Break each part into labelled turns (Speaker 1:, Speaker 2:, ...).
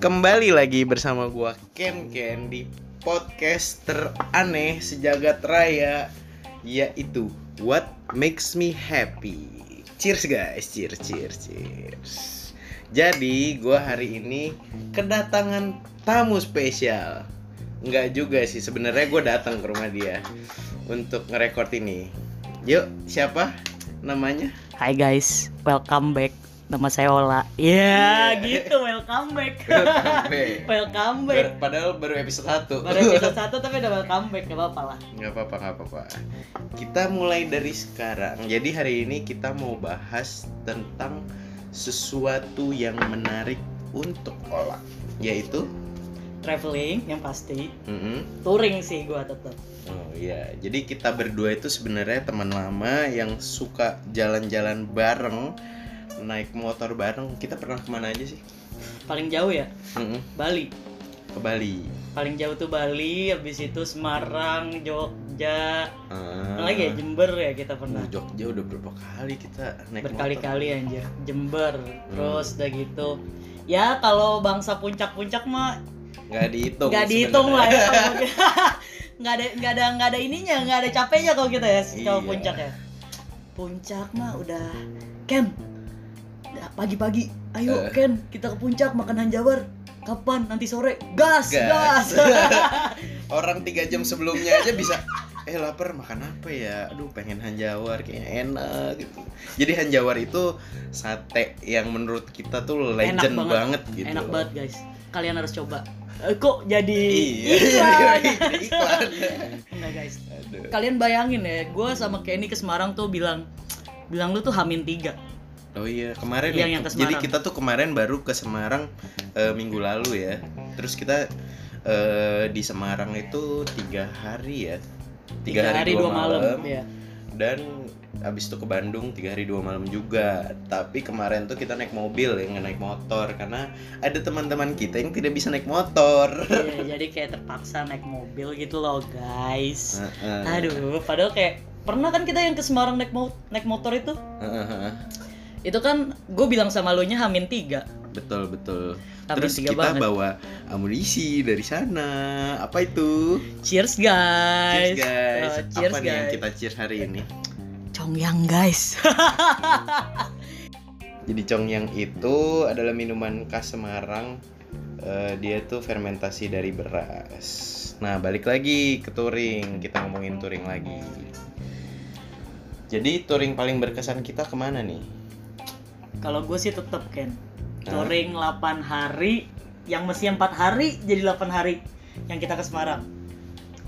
Speaker 1: Kembali lagi bersama gua Ken Ken di podcast teraneh sejagat raya yaitu What Makes Me Happy. Cheers guys, cheers cheers cheers. Jadi gua hari ini kedatangan tamu spesial. Enggak juga sih, sebenarnya gua datang ke rumah dia untuk ngerekord ini. Yuk, siapa namanya?
Speaker 2: Hai guys, welcome back. Nama saya Ola. Ya,
Speaker 1: Iya.
Speaker 2: gitu welcome back. welcome back.
Speaker 1: Ber- padahal baru episode 1
Speaker 2: Baru episode satu tapi udah welcome back, gak apa-apa lah.
Speaker 1: nggak apa-apa nggak apa-apa kita mulai dari sekarang jadi hari ini kita mau bahas tentang sesuatu yang menarik untuk olah yaitu
Speaker 2: Traveling yang pasti.
Speaker 1: Mm-mm.
Speaker 2: Touring sih gua tetap.
Speaker 1: oh iya jadi kita berdua itu sebenarnya teman lama yang suka jalan-jalan bareng naik motor bareng kita pernah kemana aja sih
Speaker 2: Paling jauh ya
Speaker 1: Mm-mm.
Speaker 2: Bali.
Speaker 1: ke Bali
Speaker 2: Paling jauh tuh Bali, habis itu Semarang, Jogja.
Speaker 1: Ah.
Speaker 2: Mana lagi ya Jember ya kita pernah.
Speaker 1: Uh, Jogja udah berapa kali kita naik motor Hmm.
Speaker 2: Berkali-kali anjir. Jember. Terus udah gitu. Ya kalau bangsa puncak-puncak mah
Speaker 1: nggak dihitung
Speaker 2: nggak dihitung lah
Speaker 1: sebenarnya.
Speaker 2: ya kalau kita- nggak ada nggak ada nggak ada ininya nggak ada capeknya kalau kita ya kalau
Speaker 1: Iya.
Speaker 2: puncak ya puncak mah udah Ken ya, pagi-pagi ayo
Speaker 1: Eh.
Speaker 2: Ken kita ke puncak makanan Jabar kapan nanti sore gas
Speaker 1: Gas.
Speaker 2: gas,
Speaker 1: orang tiga jam sebelumnya aja bisa eh lapar makan apa ya aduh pengen hanjawar kayaknya enak gitu jadi hanjawar itu sate yang menurut kita tuh legend
Speaker 2: Enak banget.
Speaker 1: gitu
Speaker 2: enak
Speaker 1: loh.
Speaker 2: banget guys kalian harus coba Eh, kok jadi
Speaker 1: iya
Speaker 2: iklan
Speaker 1: jadi iklan
Speaker 2: Nggak, guys
Speaker 1: aduh
Speaker 2: kalian bayangin ya gue sama Kenny ke Semarang tuh bilang bilang lu tuh hamin tiga
Speaker 1: oh iya kemarin
Speaker 2: Yang-
Speaker 1: ya,
Speaker 2: yang ke
Speaker 1: jadi
Speaker 2: Semarang.
Speaker 1: kita tuh kemarin baru ke Semarang eh, minggu lalu ya terus kita eh, di Semarang itu tiga hari ya tiga, hari, dua, malam
Speaker 2: ya.
Speaker 1: dan abis itu ke Bandung tiga hari dua malam juga tapi kemarin tuh kita naik mobil ya nggak naik motor karena ada teman-teman kita yang tidak bisa naik motor
Speaker 2: Iya, jadi kayak terpaksa naik mobil gitu loh guys.
Speaker 1: Heeh.
Speaker 2: Aduh, padahal kayak pernah kan kita yang ke Semarang naik mo- naik motor itu?
Speaker 1: Heeh, heeh.
Speaker 2: Itu kan gue bilang sama lu nya hamin tiga,
Speaker 1: betul betul
Speaker 2: hamin
Speaker 1: terus
Speaker 2: tiga
Speaker 1: kita
Speaker 2: banget.
Speaker 1: bawa amunisi dari sana apa itu
Speaker 2: Cheers
Speaker 1: cheers
Speaker 2: guys.
Speaker 1: guys
Speaker 2: Oh, cheers,
Speaker 1: apa nih yang
Speaker 2: guys.
Speaker 1: kita cheers hari ini
Speaker 2: Congyang guys.
Speaker 1: jadi congyang itu adalah minuman khas Semarang Eh, dia tuh fermentasi dari beras. Nah, balik lagi ke touring. Kita ngomongin touring lagi. Jadi touring paling berkesan kita kemana nih?
Speaker 2: Kalau gue sih tetep Ken.
Speaker 1: Hah?
Speaker 2: Touring 8 hari, yang mesti 4 hari jadi 8 hari yang kita ke Semarang.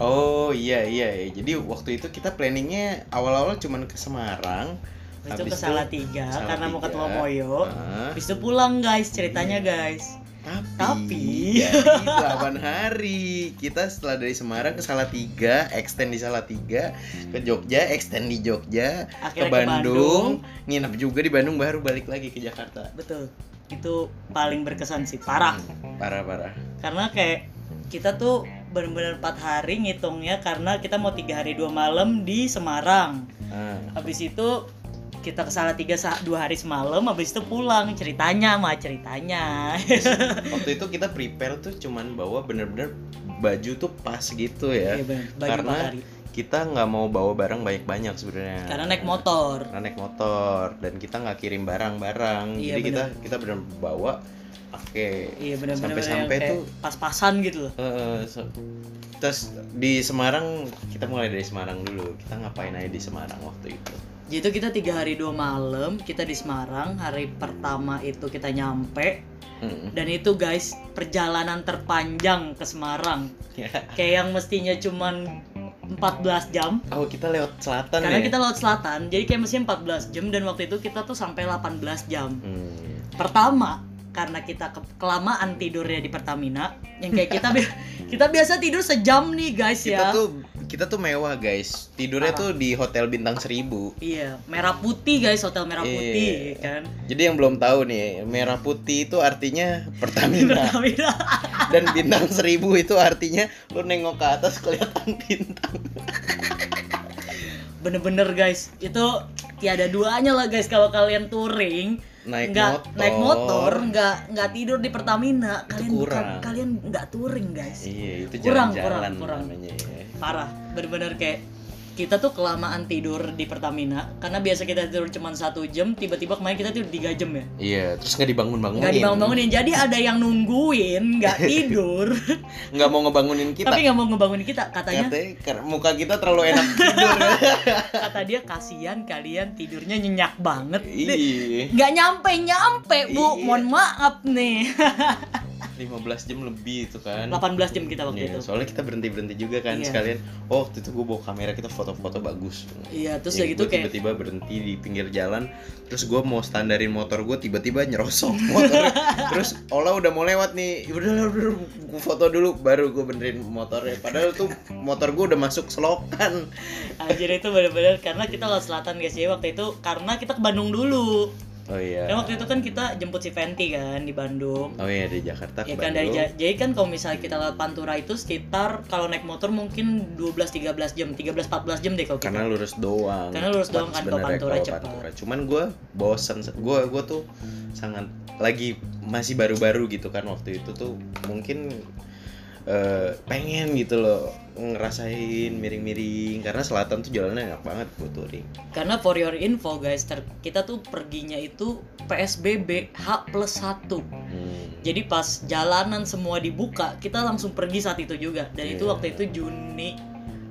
Speaker 1: Oh iya iya. iya. Jadi waktu itu kita planningnya awal-awal cuman ke Semarang.
Speaker 2: Habis itu ke
Speaker 1: Habis itu
Speaker 2: Salatiga karena mau ketemu
Speaker 1: Salatiga.
Speaker 2: Moyo.
Speaker 1: Nah,
Speaker 2: Habis itu pulang guys ceritanya guys.
Speaker 1: tapi,
Speaker 2: Tapi-
Speaker 1: jadi 8 hari kita setelah dari Semarang ke Salatiga, extend di Salatiga, ke Jogja, extend di Jogja, ke
Speaker 2: Akhirnya
Speaker 1: Bandung, nginep juga di Bandung baru balik lagi ke Jakarta.
Speaker 2: Betul. Itu paling berkesan sih, parah.
Speaker 1: Hmm. Parah parah.
Speaker 2: Karena kayak kita tuh bener-bener 4 hari ngitungnya karena kita mau tiga hari dua malam di Semarang.
Speaker 1: Ah,
Speaker 2: Habis itu kita ke Salatiga sa- dua hari semalam, habis itu pulang ceritanya mah ceritanya.
Speaker 1: Iya. waktu itu kita prepare tuh cuman bawa bener-bener baju tuh pas gitu ya.
Speaker 2: Iya bener, bagi
Speaker 1: Karena-
Speaker 2: empat hari.
Speaker 1: Kita nggak mau bawa barang banyak-banyak sebenarnya.
Speaker 2: Karena naik motor.
Speaker 1: Karena naik motor dan kita nggak kirim barang-barang. Jadi
Speaker 2: Iya,
Speaker 1: kita kita bener bawa pakai
Speaker 2: Iya bener-bener
Speaker 1: Sampai-sampai
Speaker 2: yang kayak
Speaker 1: tuh-
Speaker 2: pas-pasan gitu loh.
Speaker 1: eh, se- terus di Semarang kita mulai dari Semarang dulu. Kita ngapain aja di Semarang waktu itu?
Speaker 2: Jadi itu kita tiga hari dua malam kita di Semarang. Hari pertama itu kita nyampe
Speaker 1: Mm.
Speaker 2: Dan itu guys, perjalanan terpanjang ke Semarang.
Speaker 1: Ya.
Speaker 2: Kayak yang mestinya cuman 14 jam.
Speaker 1: Oh kita lewat selatan
Speaker 2: Karena
Speaker 1: ya.
Speaker 2: kita laut selatan, jadi kayak mestinya 14 jam dan waktu itu kita tuh sampai 18 jam.
Speaker 1: Hmm.
Speaker 2: Pertama, karena kita ke- kelamaan tidurnya di Pertamina, yang kayak kita bi- kita biasa tidur sejam nih guys
Speaker 1: kita
Speaker 2: ya.
Speaker 1: tuh kita tuh mewah guys tidurnya tuh di hotel bintang 1000
Speaker 2: Iya, merah putih guys, hotel merah
Speaker 1: Iya.
Speaker 2: putih kan.
Speaker 1: jadi yang belum tahu nih merah putih itu artinya Pertamina
Speaker 2: Pertamina.
Speaker 1: dan bintang 1000 itu artinya lu nengok ke atas kelihatan bintang
Speaker 2: bener-bener guys itu tiada duanya lah guys kalau kalian touring
Speaker 1: naik
Speaker 2: nggak
Speaker 1: motor.
Speaker 2: naik motor, nggak nggak tidur di Pertamina,
Speaker 1: Itu
Speaker 2: kalian
Speaker 1: kurang.
Speaker 2: ka- kalian nggak touring guys.
Speaker 1: Iya, itu
Speaker 2: Kurang,
Speaker 1: jalan-jalan
Speaker 2: kurang, kurang.
Speaker 1: namanya ya.
Speaker 2: Parah, bener-bener kayak kita tuh kelamaan tidur di Pertamina karena biasa kita tidur cuma satu jam, tiba-tiba kemarin kita tidur tiga jam ya.
Speaker 1: Iya, terus nggak dibangun-bangunin.
Speaker 2: Nggak dibangun-bangunin, jadi ada yang nungguin, nggak tidur,
Speaker 1: Nggak mau ngebangunin kita.
Speaker 2: tapi nggak mau ngebangunin kita. Katanya,
Speaker 1: Katanya ker- muka kita terlalu enak tidur.
Speaker 2: kata dia kasihan kalian tidurnya nyenyak banget.
Speaker 1: Iya,
Speaker 2: Nggak nyampe nyampe bu,
Speaker 1: Iya.
Speaker 2: mohon maaf nih.
Speaker 1: 15 jam lebih itu kan.
Speaker 2: 18 jam kita waktu
Speaker 1: Iya,
Speaker 2: itu.
Speaker 1: Soalnya kita berhenti-berhenti juga kan
Speaker 2: gitu. Iya.
Speaker 1: sekalian. Oh, waktu itu gue bawa kamera kita foto-foto bagus.
Speaker 2: Iya, terus
Speaker 1: Ya,
Speaker 2: udah gitu
Speaker 1: gua
Speaker 2: kayak
Speaker 1: tiba-tiba berhenti di pinggir jalan, terus gue mau standarin motor gue tiba-tiba nyerosok motor. terus Ola udah mau lewat nih, "Ya udah udah, udah gue foto dulu, baru gue benerin motornya. Padahal tuh motor gue udah masuk selokan.
Speaker 2: Anjir itu bener-bener karena kita ke selatan guys ya waktu itu karena kita ke Bandung dulu.
Speaker 1: Oh iya.
Speaker 2: Kan waktu itu kan kita jemput si Fenty kan di Bandung.
Speaker 1: Oh iya dari Jakarta ke
Speaker 2: Ya kan dari
Speaker 1: Bandung.
Speaker 2: Ja- jadi kan kalau misalnya kita lewat Pantura itu sekitar kalau naik motor mungkin 12 13 jam, 13 14 jam deh kalau kita.
Speaker 1: karena lurus doang
Speaker 2: Karena lurus doang kan, kalau
Speaker 1: Sebenarnya
Speaker 2: Pantura
Speaker 1: kalau
Speaker 2: cepat.
Speaker 1: Pantura. cuman gue bosen gue gue tuh sangat lagi masih baru-baru gitu kan waktu itu tuh mungkin eh, pengen gitu loh ngerasain miring-miring karena selatan tuh jalannya enak banget buat touring
Speaker 2: Karena for your info guys, ter- kita tuh perginya itu PSBB H plus 1
Speaker 1: Hmm.
Speaker 2: Jadi pas jalanan semua dibuka, kita langsung pergi saat itu juga. Dan itu
Speaker 1: Iya.
Speaker 2: waktu itu Juni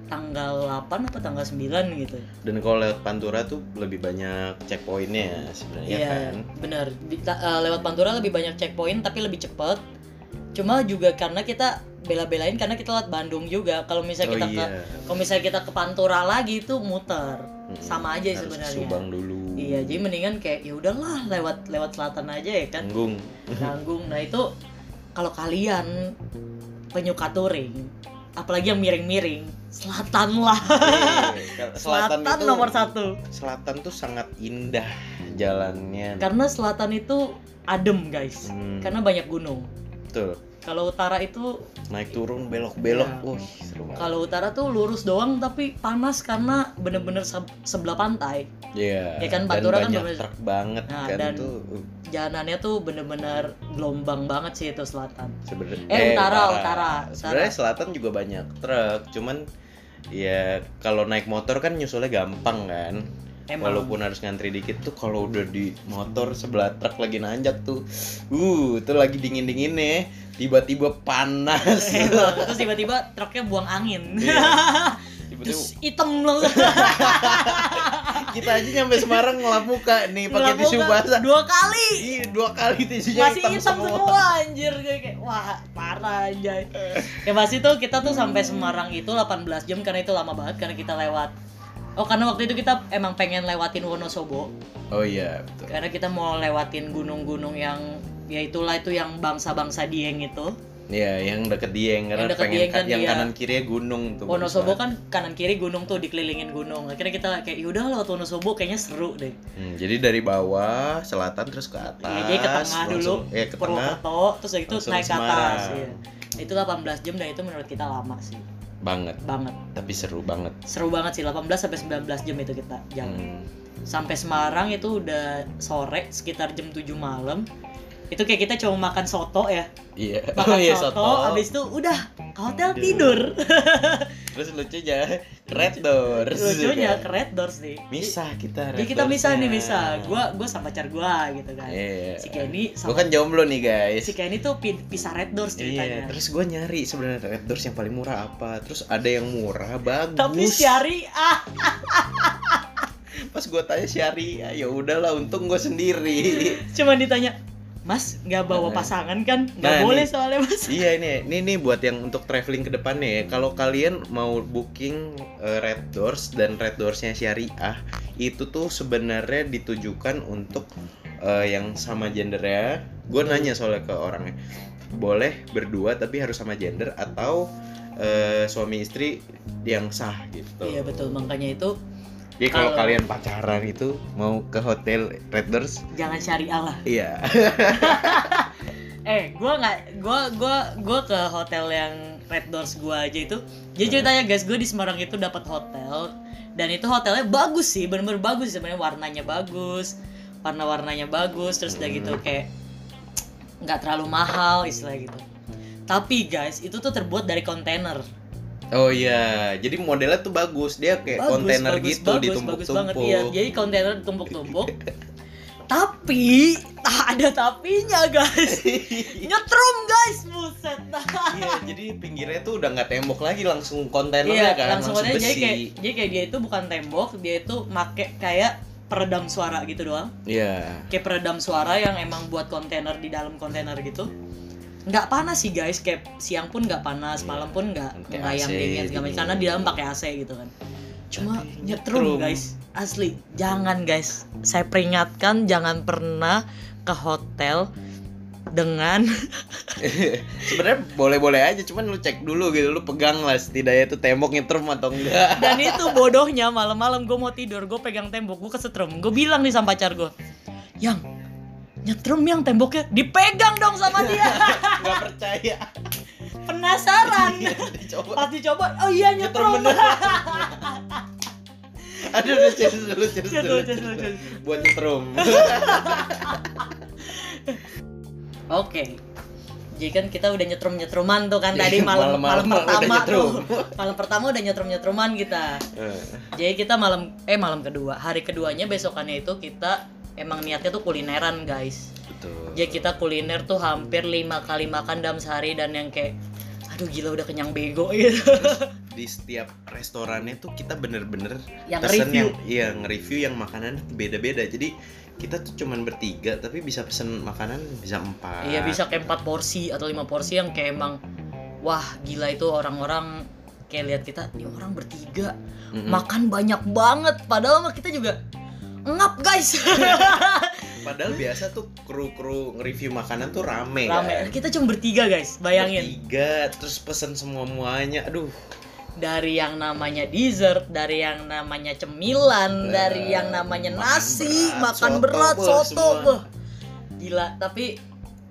Speaker 2: tanggal 8 apa tanggal 9 gitu.
Speaker 1: dan kalau lewat Pantura tuh lebih banyak checkpointnya sebenarnya kan
Speaker 2: bener. Iya, Di- ta- eh, lewat Pantura lebih banyak checkpoint tapi lebih cepet. Cuma juga karena kita bela-belain karena kita lewat Bandung juga. Kalau misalnya
Speaker 1: oh
Speaker 2: kita
Speaker 1: iya
Speaker 2: ke kalau misalnya kita ke Pantura lagi itu muter.
Speaker 1: Mm-mm.
Speaker 2: sama
Speaker 1: Hmm. Harus
Speaker 2: aja
Speaker 1: ke
Speaker 2: sebenarnya.
Speaker 1: Subang dulu
Speaker 2: Iya, jadi mendingan kayak ya udahlah lewat lewat selatan aja ya kan.
Speaker 1: Nanggung
Speaker 2: nanggung nah itu kalau kalian penyuka touring apalagi yang miring-miring selatan lah
Speaker 1: Iya,
Speaker 2: selatan,
Speaker 1: itu-
Speaker 2: nomor satu
Speaker 1: Selatan tuh sangat indah jalannya
Speaker 2: karena selatan itu adem guys
Speaker 1: Hmm,
Speaker 2: karena banyak gunung
Speaker 1: betul
Speaker 2: kalau utara itu
Speaker 1: naik turun belok belok
Speaker 2: Iya.
Speaker 1: wah seru banget
Speaker 2: kalau utara tuh lurus doang tapi panas karena bener-bener seb- sebelah pantai
Speaker 1: Iya.
Speaker 2: Ya
Speaker 1: Dan
Speaker 2: kan, Pantura kan
Speaker 1: banyak
Speaker 2: bener-
Speaker 1: truk banget
Speaker 2: Nah,
Speaker 1: kan
Speaker 2: dan-
Speaker 1: tuh
Speaker 2: jalanannya tuh bener-bener gelombang banget sih itu selatan
Speaker 1: sebenarnya
Speaker 2: Eh, utara, utara, utara.
Speaker 1: sebenarnya selatan juga banyak truk cuman ya kalau naik motor kan nyusulnya gampang kan
Speaker 2: emang
Speaker 1: walaupun harus ngantri dikit tuh kalau udah di motor sebelah truk lagi nanjak tuh uh itu lagi dingin dinginnya tiba-tiba panas
Speaker 2: Emang. terus tiba-tiba truknya buang angin
Speaker 1: Iya. tiba-tiba
Speaker 2: terus hitam langsung
Speaker 1: kita aja nyampe Semarang ngelap muka nih pakai
Speaker 2: Ngelap
Speaker 1: tisu
Speaker 2: muka
Speaker 1: basah
Speaker 2: dua kali
Speaker 1: Ih, dua kali tisunya
Speaker 2: masih hitam, semua. anjir Kayak- kayak wah parah anjay ya pasti tuh kita tuh sampai Semarang itu 18 jam karena itu lama banget karena kita lewat oh karena waktu itu kita emang pengen lewatin Wonosobo
Speaker 1: Oh iya, betul.
Speaker 2: karena kita mau lewatin gunung-gunung yang ya itulah itu yang bangsa-bangsa Dieng itu
Speaker 1: Iya, yang deket Dieng karena
Speaker 2: Yang deket
Speaker 1: pengen
Speaker 2: Dieng
Speaker 1: ka-
Speaker 2: kan
Speaker 1: yang
Speaker 2: dia-
Speaker 1: kanan kirinya gunung tuh.
Speaker 2: Wonosobo kan kanan kiri gunung tuh dikelilingin gunung akhirnya kita kayak yaudah lewat Wonosobo kayaknya seru deh
Speaker 1: Hmm, jadi dari bawah selatan terus ke atas.
Speaker 2: kan? Iya, jadi ke tengah dulu,
Speaker 1: langsung- Iya, ke tengah.
Speaker 2: Purwokerto terus dari itu
Speaker 1: langsung
Speaker 2: naik ke
Speaker 1: Semarang.
Speaker 2: atas iya. itu 18 jam dan itu menurut kita lama sih
Speaker 1: Banget,
Speaker 2: banget
Speaker 1: tapi seru banget.
Speaker 2: seru banget sih 18 sampai 19 jam itu kita jalan.
Speaker 1: Hmm.
Speaker 2: Sampai Semarang itu udah sore sekitar jam 7 malam. Itu kayak kita cuma makan soto ya.
Speaker 1: Iya.
Speaker 2: Makan
Speaker 1: iya,
Speaker 2: soto, habis itu udah ke hotel
Speaker 1: Tidur.
Speaker 2: tidur.
Speaker 1: Terus lucunya ke Red Doors.
Speaker 2: Lucunya
Speaker 1: kan.
Speaker 2: ke Red Doors nih.
Speaker 1: Misah kita.
Speaker 2: Jadi
Speaker 1: Red
Speaker 2: kita misah nih
Speaker 1: Doors-nya.
Speaker 2: misah. Gua gua sama pacar gua gitu kan.
Speaker 1: Iya.
Speaker 2: Si Kenny
Speaker 1: Gua
Speaker 2: sama
Speaker 1: kan jomblo nih, guys.
Speaker 2: si Kenny tuh pi- pisah Red Doors
Speaker 1: Iya,
Speaker 2: ceritanya.
Speaker 1: terus gue nyari sebenarnya Red Doors yang paling murah apa. Terus ada yang murah bagus.
Speaker 2: Tapi ah, syariah.
Speaker 1: pas gue tanya Syari, ya udahlah untung gue sendiri.
Speaker 2: Cuman ditanya, "Mas, nggak bawa
Speaker 1: Nah.
Speaker 2: pasangan kan? Nggak
Speaker 1: Nah,
Speaker 2: boleh
Speaker 1: nih.
Speaker 2: soalnya, Mas."
Speaker 1: iya ini, ini ini buat yang untuk traveling ke depannya ya. Kalau kalian mau booking eh, Red Doors dan Red Doorsnya Syariah, itu tuh sebenarnya ditujukan untuk eh, yang sama gendernya. Gue
Speaker 2: Hmm.
Speaker 1: nanya soalnya ke orangnya, boleh berdua tapi harus sama gender atau eh, suami istri yang sah gitu.
Speaker 2: Iya betul, makanya itu
Speaker 1: Jadi kalau
Speaker 2: Kalau-
Speaker 1: kalian pacaran itu mau ke hotel Red Doors,
Speaker 2: jangan syariah lah.
Speaker 1: iya.
Speaker 2: Eh, gua nggak, gua, gua, gua ke hotel yang Red Doors gua aja itu. Jadi ceritanya guys, gua di Semarang itu dapat hotel dan itu hotelnya bagus sih, bener-bener bagus sebenarnya warnanya bagus, warna-warnanya bagus terus udah
Speaker 1: Hmm.
Speaker 2: gitu kayak nggak terlalu mahal istilah gitu tapi guys itu tuh terbuat dari kontainer
Speaker 1: Oh iya, jadi modelnya tuh bagus. Dia kayak
Speaker 2: Bagus,
Speaker 1: kontainer
Speaker 2: bagus,
Speaker 1: gitu
Speaker 2: bagus, bagus banget
Speaker 1: ditumpuk-tumpuk.
Speaker 2: iya jadi kontainer ditumpuk-tumpuk tapi tak ada tapinya guys nyetrum guys buset Nah,
Speaker 1: Iya, jadi pinggirnya tuh udah nggak tembok lagi, langsung kontainer
Speaker 2: Iya,
Speaker 1: kan,
Speaker 2: langsung,
Speaker 1: langsung,
Speaker 2: aja
Speaker 1: besi.
Speaker 2: jadi kayak jadi kayak dia itu bukan tembok, dia itu make kayak peredam suara gitu doang.
Speaker 1: Iya.
Speaker 2: Kayak peredam suara yang emang buat kontainer di dalam kontainer gitu. Nggak panas sih guys, kayak siang pun nggak panas,
Speaker 1: Iya.
Speaker 2: malam pun nggak
Speaker 1: Pakai
Speaker 2: nggak yang
Speaker 1: AC
Speaker 2: dingin segala macam.
Speaker 1: dingin.
Speaker 2: karena di dalam pakai AC gitu kan. Cuma
Speaker 1: Tapi nyetrum.
Speaker 2: nyetrum guys, asli. Jangan guys, saya peringatkan jangan pernah ke hotel dengan
Speaker 1: Sebenarnya boleh-boleh aja, cuman lu cek dulu gitu, lu pegang lah setidaknya tuh tembok nyetrum atau enggak.
Speaker 2: Dan itu bodohnya malam-malam gue mau tidur, gue pegang tembok, gue kesetrum. Gue bilang nih sama pacar gue, yang nyetrum yang temboknya dipegang dong sama dia.
Speaker 1: Nggak percaya.
Speaker 2: Penasaran.
Speaker 1: Iya, dicoba.
Speaker 2: Pas dicoba, oh iya
Speaker 1: Nyetrum
Speaker 2: nyetrum.
Speaker 1: bener. Aduh, lu cek dulu, cek
Speaker 2: Cek
Speaker 1: dulu.
Speaker 2: dulu, cek dulu, cek
Speaker 1: Buat nyetrum.
Speaker 2: Oke. Jadi kan kita udah nyetrum-nyetruman tuh kan tadi
Speaker 1: Iya,
Speaker 2: malam
Speaker 1: malam-malam
Speaker 2: malam
Speaker 1: udah
Speaker 2: pertama tuh.
Speaker 1: nyetrum.
Speaker 2: Malam pertama udah nyetrum-nyetruman kita.
Speaker 1: Eh,
Speaker 2: Jadi kita malam eh malam kedua, hari keduanya besokannya itu kita emang niatnya tuh kulineran, guys.
Speaker 1: Betul.
Speaker 2: Ya kita kuliner tuh hampir lima kali makan dalam sehari dan yang kayak aduh gila udah kenyang bego gitu.
Speaker 1: di setiap restorannya tuh kita bener-bener
Speaker 2: yang
Speaker 1: pesen
Speaker 2: review.
Speaker 1: yang iya nge-review yang makanan beda-beda jadi kita tuh cuman bertiga tapi bisa pesen makanan bisa empat
Speaker 2: Iya bisa kayak empat porsi atau lima porsi yang kayak emang wah gila itu orang-orang kayak lihat kita ini orang bertiga
Speaker 1: Mm-mm.
Speaker 2: makan banyak banget padahal mah kita juga ngap guys
Speaker 1: padahal biasa tuh kru kru nge-review makanan tuh rame kan?
Speaker 2: rame kita cuma bertiga guys bayangin
Speaker 1: bertiga terus pesen semua muanya aduh
Speaker 2: dari yang namanya dessert dari yang namanya cemilan
Speaker 1: Eh,
Speaker 2: dari yang namanya
Speaker 1: makan
Speaker 2: nasi
Speaker 1: berat,
Speaker 2: makan
Speaker 1: soto,
Speaker 2: berat
Speaker 1: beuh,
Speaker 2: soto
Speaker 1: semua.
Speaker 2: beuh. gila tapi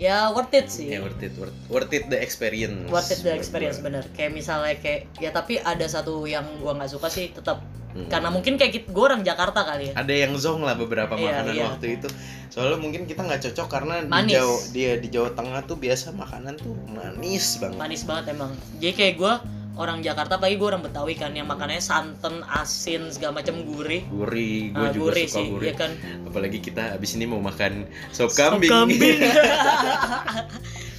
Speaker 2: ya worth it sih
Speaker 1: ya worth it worth, worth it the experience
Speaker 2: worth it the
Speaker 1: Buat
Speaker 2: experience
Speaker 1: gua.
Speaker 2: bener kayak misalnya kayak ya tapi ada satu yang gua nggak suka sih tetap
Speaker 1: Mm.
Speaker 2: karena mungkin kayak kita, gua orang Jakarta kali ya
Speaker 1: ada yang zong lah beberapa
Speaker 2: Iya,
Speaker 1: makanan
Speaker 2: iya.
Speaker 1: waktu itu soalnya mungkin kita nggak cocok karena di
Speaker 2: Manis.
Speaker 1: Jawa dia di Jawa Tengah tuh biasa makanan tuh manis banget
Speaker 2: manis banget emang jadi kayak gua orang Jakarta apalagi gua orang Betawi kan yang makannya santan asin segala macam gurih
Speaker 1: gurih gue
Speaker 2: Ah,
Speaker 1: juga
Speaker 2: gurih
Speaker 1: suka
Speaker 2: sih
Speaker 1: gurih
Speaker 2: ya kan
Speaker 1: apalagi kita abis ini mau makan sop
Speaker 2: Sop
Speaker 1: kambing,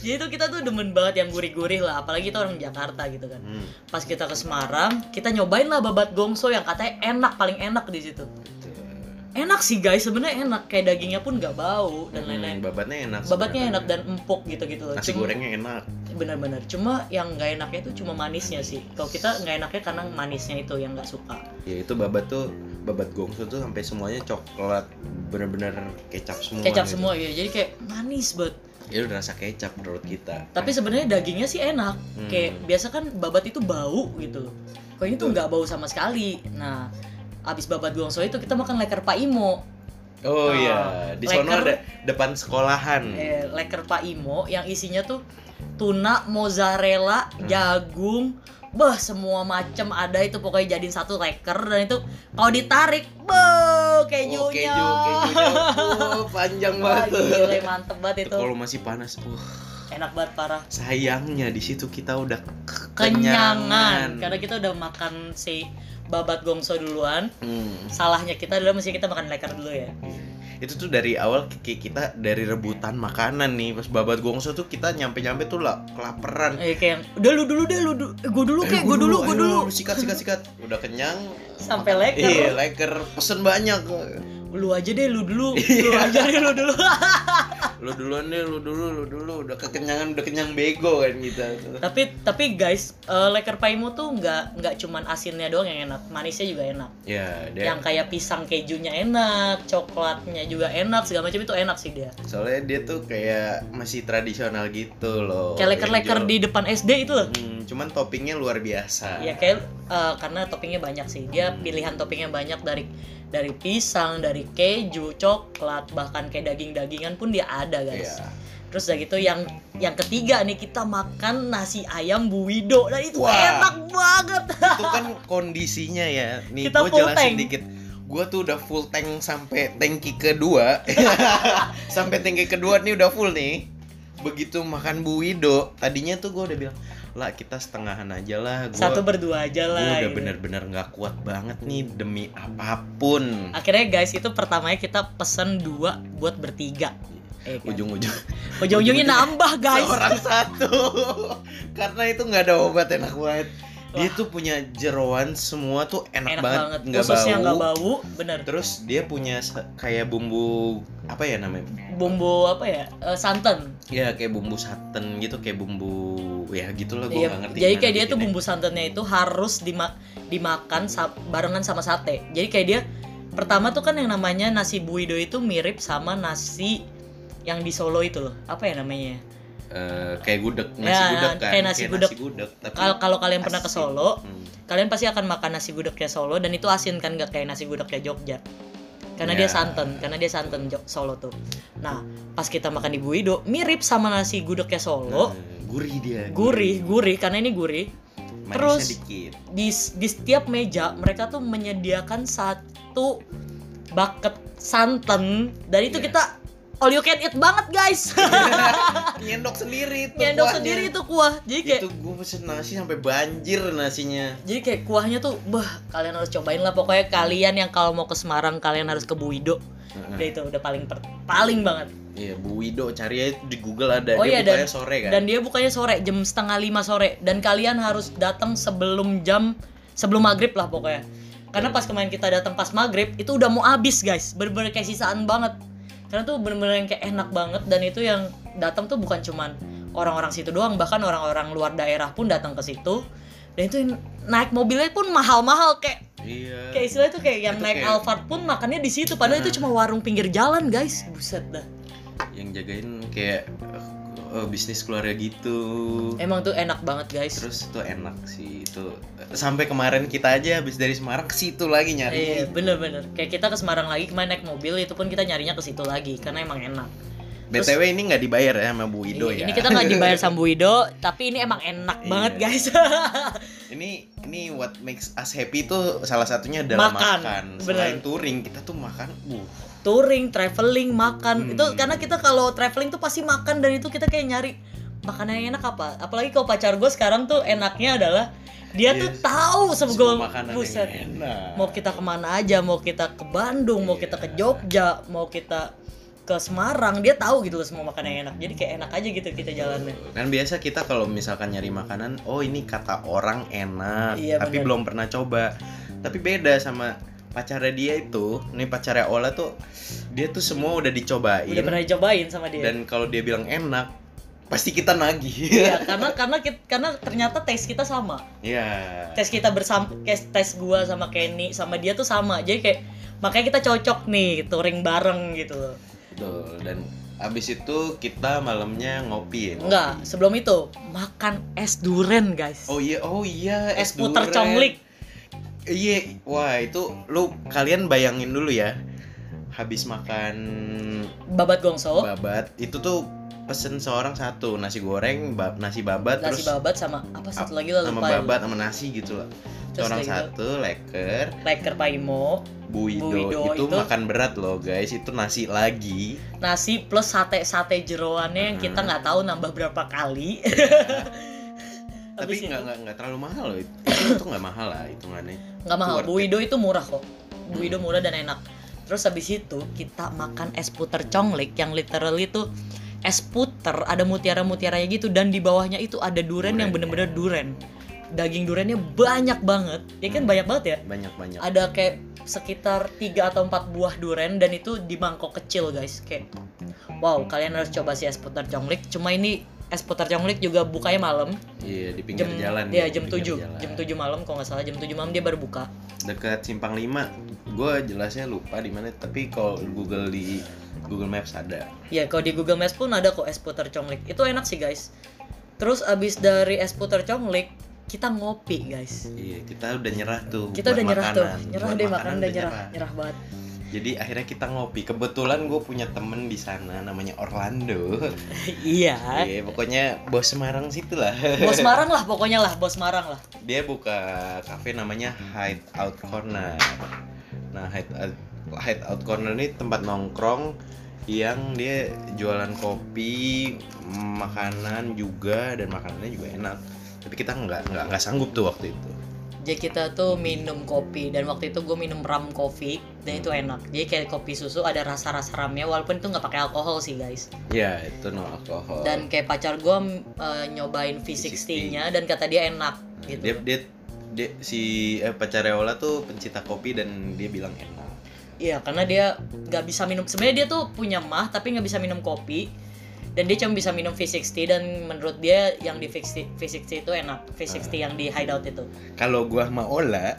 Speaker 2: Jadi itu kita tuh demen banget yang gurih-gurih lah, apalagi kita orang Jakarta gitu kan.
Speaker 1: Hmm,
Speaker 2: Pas kita ke Semarang, kita nyobain lah babat gongso yang katanya enak paling enak di situ.
Speaker 1: gitu.
Speaker 2: Enak sih guys, sebenarnya enak kayak dagingnya pun nggak bau dan
Speaker 1: Hmm,
Speaker 2: lain-lain.
Speaker 1: babatnya enak
Speaker 2: Babatnya
Speaker 1: sebenarnya.
Speaker 2: enak dan empuk gitu-gitu loh.
Speaker 1: nasi
Speaker 2: Cuma-
Speaker 1: gorengnya enak
Speaker 2: Benar-benar. Cuma yang nggak enaknya itu cuma manisnya sih. Kalau kita nggak enaknya karena manisnya itu yang nggak suka.
Speaker 1: ya itu babat tuh babat gongso tuh sampai semuanya coklat bener-bener kecap semua
Speaker 2: Kecap
Speaker 1: gitu.
Speaker 2: semua ya, jadi kayak manis banget.
Speaker 1: ya udah rasa kecap menurut kita
Speaker 2: Tapi sebenarnya dagingnya sih enak.
Speaker 1: Hmm.
Speaker 2: kayak biasa kan babat itu bau gitu loh. Kalau ini tuh nggak bau sama sekali. Nah, abis babat gongso itu kita makan leker Pak Imo.
Speaker 1: oh iya di sono
Speaker 2: leker.
Speaker 1: ada depan sekolahan
Speaker 2: Eh, leker Pak Imo yang isinya tuh tuna, mozzarella,
Speaker 1: Hmm.
Speaker 2: jagung, bah semua macem ada itu pokoknya jadiin satu leker dan itu kalau ditarik, beuh kejunya.
Speaker 1: Oh, keju kejunya oh, panjang
Speaker 2: Wah,
Speaker 1: banget
Speaker 2: gitu.
Speaker 1: tuh.
Speaker 2: gile, mantep banget
Speaker 1: Itu
Speaker 2: itu.
Speaker 1: kalau masih panas uh
Speaker 2: Enak banget parah.
Speaker 1: sayangnya di situ kita udah
Speaker 2: Kenyangan.
Speaker 1: kenyangan
Speaker 2: Karena kita udah makan si babat gongso duluan.
Speaker 1: Hmm.
Speaker 2: Salahnya kita adalah mesti kita makan leker dulu ya.
Speaker 1: itu tuh dari awal ki- kita dari rebutan makanan nih pas babat gongso tuh kita nyampe nyampe tuh lah kelaparan
Speaker 2: Eh, kayak yang, udah lu dulu deh lu dulu gue dulu kayak gue dulu gue dulu
Speaker 1: sikat sikat sikat udah kenyang
Speaker 2: sampai
Speaker 1: iya
Speaker 2: leker
Speaker 1: leker pesen banyak
Speaker 2: lu aja deh lu dulu
Speaker 1: Iya.
Speaker 2: lu aja deh lu dulu
Speaker 1: lu duluan deh lu dulu lu dulu udah kekenyangan udah kenyang bego kan kita
Speaker 2: tapi tapi guys eh, leker paimu tuh nggak nggak cuman asinnya doang yang enak manisnya juga enak
Speaker 1: ya dia
Speaker 2: yang kayak pisang kejunya enak coklatnya juga enak segala macam itu enak sih dia
Speaker 1: soalnya dia tuh kayak masih tradisional gitu loh
Speaker 2: kayak leker-leker di depan SD itu loh
Speaker 1: Hmm, cuman toppingnya luar biasa
Speaker 2: Ya kayak eh, karena toppingnya banyak sih. Dia pilihan toppingnya banyak dari dari pisang, dari keju, coklat, bahkan kayak daging-dagingan pun dia ada, guys.
Speaker 1: Iya.
Speaker 2: Terus udah gitu yang yang ketiga nih kita makan nasi ayam buwido. Dan itu
Speaker 1: Wah.
Speaker 2: enak banget.
Speaker 1: itu kan kondisinya ya nih
Speaker 2: Kita
Speaker 1: gue
Speaker 2: full
Speaker 1: jelasin
Speaker 2: tank.
Speaker 1: dikit Gua tuh udah full tank sampai tangki kedua. sampai tangki kedua nih udah full nih. Begitu makan Bu Wido, tadinya tuh gua udah bilang, "Lah, kita setengahan aja lah." Gua
Speaker 2: satu berdua aja
Speaker 1: gua
Speaker 2: lah
Speaker 1: udah
Speaker 2: gitu.
Speaker 1: bener-bener nggak kuat banget nih demi apapun.
Speaker 2: akhirnya guys itu pertamanya kita pesen dua buat bertiga Eh, kan?
Speaker 1: Ujung-ujung
Speaker 2: ujung-ujungnya nambah guys
Speaker 1: seorang satu. Karena itu nggak ada obat enak banget. Dia
Speaker 2: Wah.
Speaker 1: tuh punya jeroan semua tuh enak,
Speaker 2: enak
Speaker 1: banget,
Speaker 2: banget
Speaker 1: nggak
Speaker 2: khususnya nggak
Speaker 1: bau.
Speaker 2: bau bener
Speaker 1: Terus dia punya se- kayak bumbu apa ya namanya?
Speaker 2: bumbu apa ya eh, santan
Speaker 1: Ya kayak bumbu saten gitu, kayak bumbu ya gitulah
Speaker 2: Iya,
Speaker 1: gua nggak ngerti.
Speaker 2: jadi
Speaker 1: gimana
Speaker 2: kayak dia tuh
Speaker 1: bikinnya.
Speaker 2: bumbu santannya itu harus dima- dimakan sa- barengan sama sate jadi kayak dia pertama tuh kan yang namanya nasi buido itu mirip sama nasi yang di Solo itu loh apa ya namanya
Speaker 1: Eh, kayak gudeg, nasi
Speaker 2: Ya,
Speaker 1: gudeg kan.
Speaker 2: kayak nasi gudeg.
Speaker 1: tapi
Speaker 2: kalau kalau kalian pernah ke
Speaker 1: Asin.
Speaker 2: Solo
Speaker 1: Hmm.
Speaker 2: kalian pasti akan makan nasi gudegnya Solo dan itu asin kan nggak kayak nasi gudegnya Jogja karena
Speaker 1: Ya.
Speaker 2: dia santan karena dia santan Jog- Solo tuh nah pas kita makan di Buido mirip sama nasi gudegnya Solo
Speaker 1: Nah, gurih dia.
Speaker 2: gurih gurih karena ini gurih
Speaker 1: Manisnya
Speaker 2: Terus-
Speaker 1: dikit.
Speaker 2: di di setiap meja mereka tuh menyediakan satu bucket santan dan itu
Speaker 1: Iya.
Speaker 2: kita all you can eat banget guys
Speaker 1: Ah, Nyendok sendiri tuh.
Speaker 2: nyendok
Speaker 1: kuahnya.
Speaker 2: sendiri itu kuah jadi kayak
Speaker 1: Itu gue pesen nasi sampai banjir nasinya.
Speaker 2: jadi kayak kuahnya tuh bah kalian harus cobain lah pokoknya kalian yang kalau mau ke Semarang kalian harus ke Buido
Speaker 1: Nah.
Speaker 2: udah itu udah paling per- paling banget
Speaker 1: Iya, Bu Wido cari aja di Google ada.
Speaker 2: Oh
Speaker 1: dia
Speaker 2: iya,
Speaker 1: bukanya sore kan.
Speaker 2: dan dia bukanya sore jam setengah lima sore dan kalian harus datang sebelum jam sebelum maghrib lah
Speaker 1: Iya.
Speaker 2: pokoknya karena pas kemarin kita datang pas maghrib itu udah mau habis guys bener-bener kayak sisaan banget karena tuh bener-bener yang kayak enak banget dan itu yang datang tuh bukan cuman orang-orang situ doang bahkan orang-orang luar daerah pun datang ke situ dan itu yang naik mobilnya pun mahal-mahal kayak
Speaker 1: Iya.
Speaker 2: kayak istilahnya tuh kayak yang
Speaker 1: Itu
Speaker 2: naik
Speaker 1: kayak- Nah.
Speaker 2: Alphard pun makannya di situ padahal itu cuma warung pinggir jalan guys
Speaker 1: Iya.
Speaker 2: buset dah
Speaker 1: Yang jagain kayak eh, bisnis keluarga gitu.
Speaker 2: emang tuh enak banget guys
Speaker 1: Terus itu enak sih itu sampai kemarin kita aja habis dari Semarang ke situ lagi
Speaker 2: Iya,
Speaker 1: nyari.
Speaker 2: bener-bener. Kayak kita ke Semarang lagi, kemarin naik mobil, itu pun kita nyarinya ke situ lagi, karena emang enak. terus-
Speaker 1: BTW ini nggak dibayar ya sama Bu Wido ya.
Speaker 2: ini, ini kita nggak dibayar sama Bu Wido, tapi ini emang enak
Speaker 1: Iya.
Speaker 2: banget guys.
Speaker 1: ini ini what makes us happy itu salah satunya adalah
Speaker 2: Makan,
Speaker 1: makan.
Speaker 2: bener.
Speaker 1: Selain touring kita tuh makan. Uh,
Speaker 2: Touring, traveling, makan,
Speaker 1: Hmm.
Speaker 2: itu karena kita kalau traveling tuh pasti makan dan itu kita kayak nyari makanan yang enak apa. Apalagi kalau pacar gue sekarang tuh enaknya adalah dia tuh
Speaker 1: Yes.
Speaker 2: tahu
Speaker 1: Iya. semua
Speaker 2: sebelum
Speaker 1: makanan
Speaker 2: buset.
Speaker 1: yang enak.
Speaker 2: Mau kita kemana aja, mau kita ke Bandung, mau kita ke
Speaker 1: Iya.
Speaker 2: Jogja, mau kita ke Semarang, dia tahu gitu loh semua makanan yang enak. Jadi kayak enak aja gitu kita jalannya.
Speaker 1: kan biasa kita kalau misalkan nyari makanan oh ini kata orang enak
Speaker 2: Iya,
Speaker 1: tapi
Speaker 2: bener.
Speaker 1: belum pernah coba tapi beda sama pacarnya dia itu nih pacarnya Ola tuh dia tuh semua udah dicobain
Speaker 2: udah pernah cobain sama dia
Speaker 1: Iya. dan kalau dia bilang enak pasti kita nagih
Speaker 2: iya karena karena kit- karena ternyata tes kita sama
Speaker 1: Iya
Speaker 2: tes kita bersama tes tes gua sama Kenny sama dia tuh sama jadi kayak makanya kita cocok nih touring bareng gitu loh
Speaker 1: betul dan abis itu kita malamnya ngopi ya ngopi.
Speaker 2: enggak sebelum itu makan es duren guys
Speaker 1: oh iya oh iya
Speaker 2: es,
Speaker 1: durian.
Speaker 2: puter conglik
Speaker 1: Iya, wah itu lu kalian bayangin dulu ya. Habis makan
Speaker 2: babat gongso
Speaker 1: babat, itu tuh pesen seorang satu nasi goreng, ba- nasi babat
Speaker 2: nasi
Speaker 1: terus
Speaker 2: babat sama apa satu lagi lah
Speaker 1: sama
Speaker 2: lupa ya.
Speaker 1: babat sama nasi gitu lah.
Speaker 2: Terus
Speaker 1: Seorang
Speaker 2: kayak gitu.
Speaker 1: satu leker,
Speaker 2: Leker Paimo,
Speaker 1: buido,
Speaker 2: Buido
Speaker 1: itu,
Speaker 2: itu-
Speaker 1: makan berat loh guys, itu nasi lagi.
Speaker 2: nasi plus sate-sate jeroannya yang kita
Speaker 1: Hmm.
Speaker 2: nggak tahu nambah berapa kali.
Speaker 1: Tapi
Speaker 2: Habis itu-
Speaker 1: nggak nggak nggak terlalu mahal loh itu. itu nggak mahal lah hitungannya.
Speaker 2: nggak mahal
Speaker 1: Worth it. Hmm.
Speaker 2: Buido itu murah kok Buido murah dan enak terus habis itu kita makan es puter conglik yang literally tuh es puter ada mutiara mutiaranya gitu dan di bawahnya itu ada duren yang
Speaker 1: Duren.
Speaker 2: bener-bener duren daging durennya banyak banget ya kan
Speaker 1: Hmm.
Speaker 2: banyak banget ya
Speaker 1: Banyak-banyak.
Speaker 2: ada kayak sekitar 3 atau 4 buah duren dan itu di mangkok kecil guys kayak wow kalian harus coba si es puter conglik cuma ini es puter conglik juga bukanya malam
Speaker 1: Iya, di pinggir jalan.
Speaker 2: ya
Speaker 1: di
Speaker 2: jam
Speaker 1: pinggir
Speaker 2: 7
Speaker 1: jalan.
Speaker 2: jam 7 malam kalau nggak salah jam 7 malam dia baru buka
Speaker 1: dekat simpang 5 gue jelasnya lupa di mana tapi kalau Google di Google Maps ada
Speaker 2: Ya, kalau di Google Maps pun ada kok es puter conglik. Itu enak sih, guys. Terus abis dari es puter conglik, kita ngopi, guys.
Speaker 1: iya kita udah nyerah tuh
Speaker 2: Kita
Speaker 1: buat
Speaker 2: udah nyerah tuh.
Speaker 1: makanan.
Speaker 2: Nyerah
Speaker 1: Buat
Speaker 2: deh makanan udah
Speaker 1: udah
Speaker 2: nyerah. Nyerah banget.
Speaker 1: jadi akhirnya kita ngopi kebetulan gue punya temen di sana namanya Orlando
Speaker 2: iya.
Speaker 1: iya pokoknya bos Semarang situ lah
Speaker 2: Bos Marang lah pokoknya lah, Bos Marang lah.
Speaker 1: dia buka cafe namanya Hideout Corner Nah, hideout hideout corner ini tempat nongkrong yang dia jualan kopi, makanan juga dan makanannya juga enak. Tapi kita nggak nggak nggak sanggup tuh waktu itu.
Speaker 2: Jadi kita tuh minum kopi dan waktu itu gue minum rum coffee dan itu enak. Jadi kayak kopi susu ada rasa-rasa ramnya walaupun itu nggak pakai alkohol sih guys.
Speaker 1: Ya, itu no alkohol.
Speaker 2: Dan kayak pacar gue nyobain V60-nya dan kata dia enak gitu.
Speaker 1: dia, dia dia si eh, pacareola tuh pencinta kopi dan dia bilang enak.
Speaker 2: Iya karena dia nggak bisa minum. Sebenarnya dia tuh punya mah tapi nggak bisa minum kopi dan dia cuma bisa minum V60 dan menurut dia yang di V60, V60 itu enak. V60 yang di hideout itu.
Speaker 1: Kalau gua sama Ola,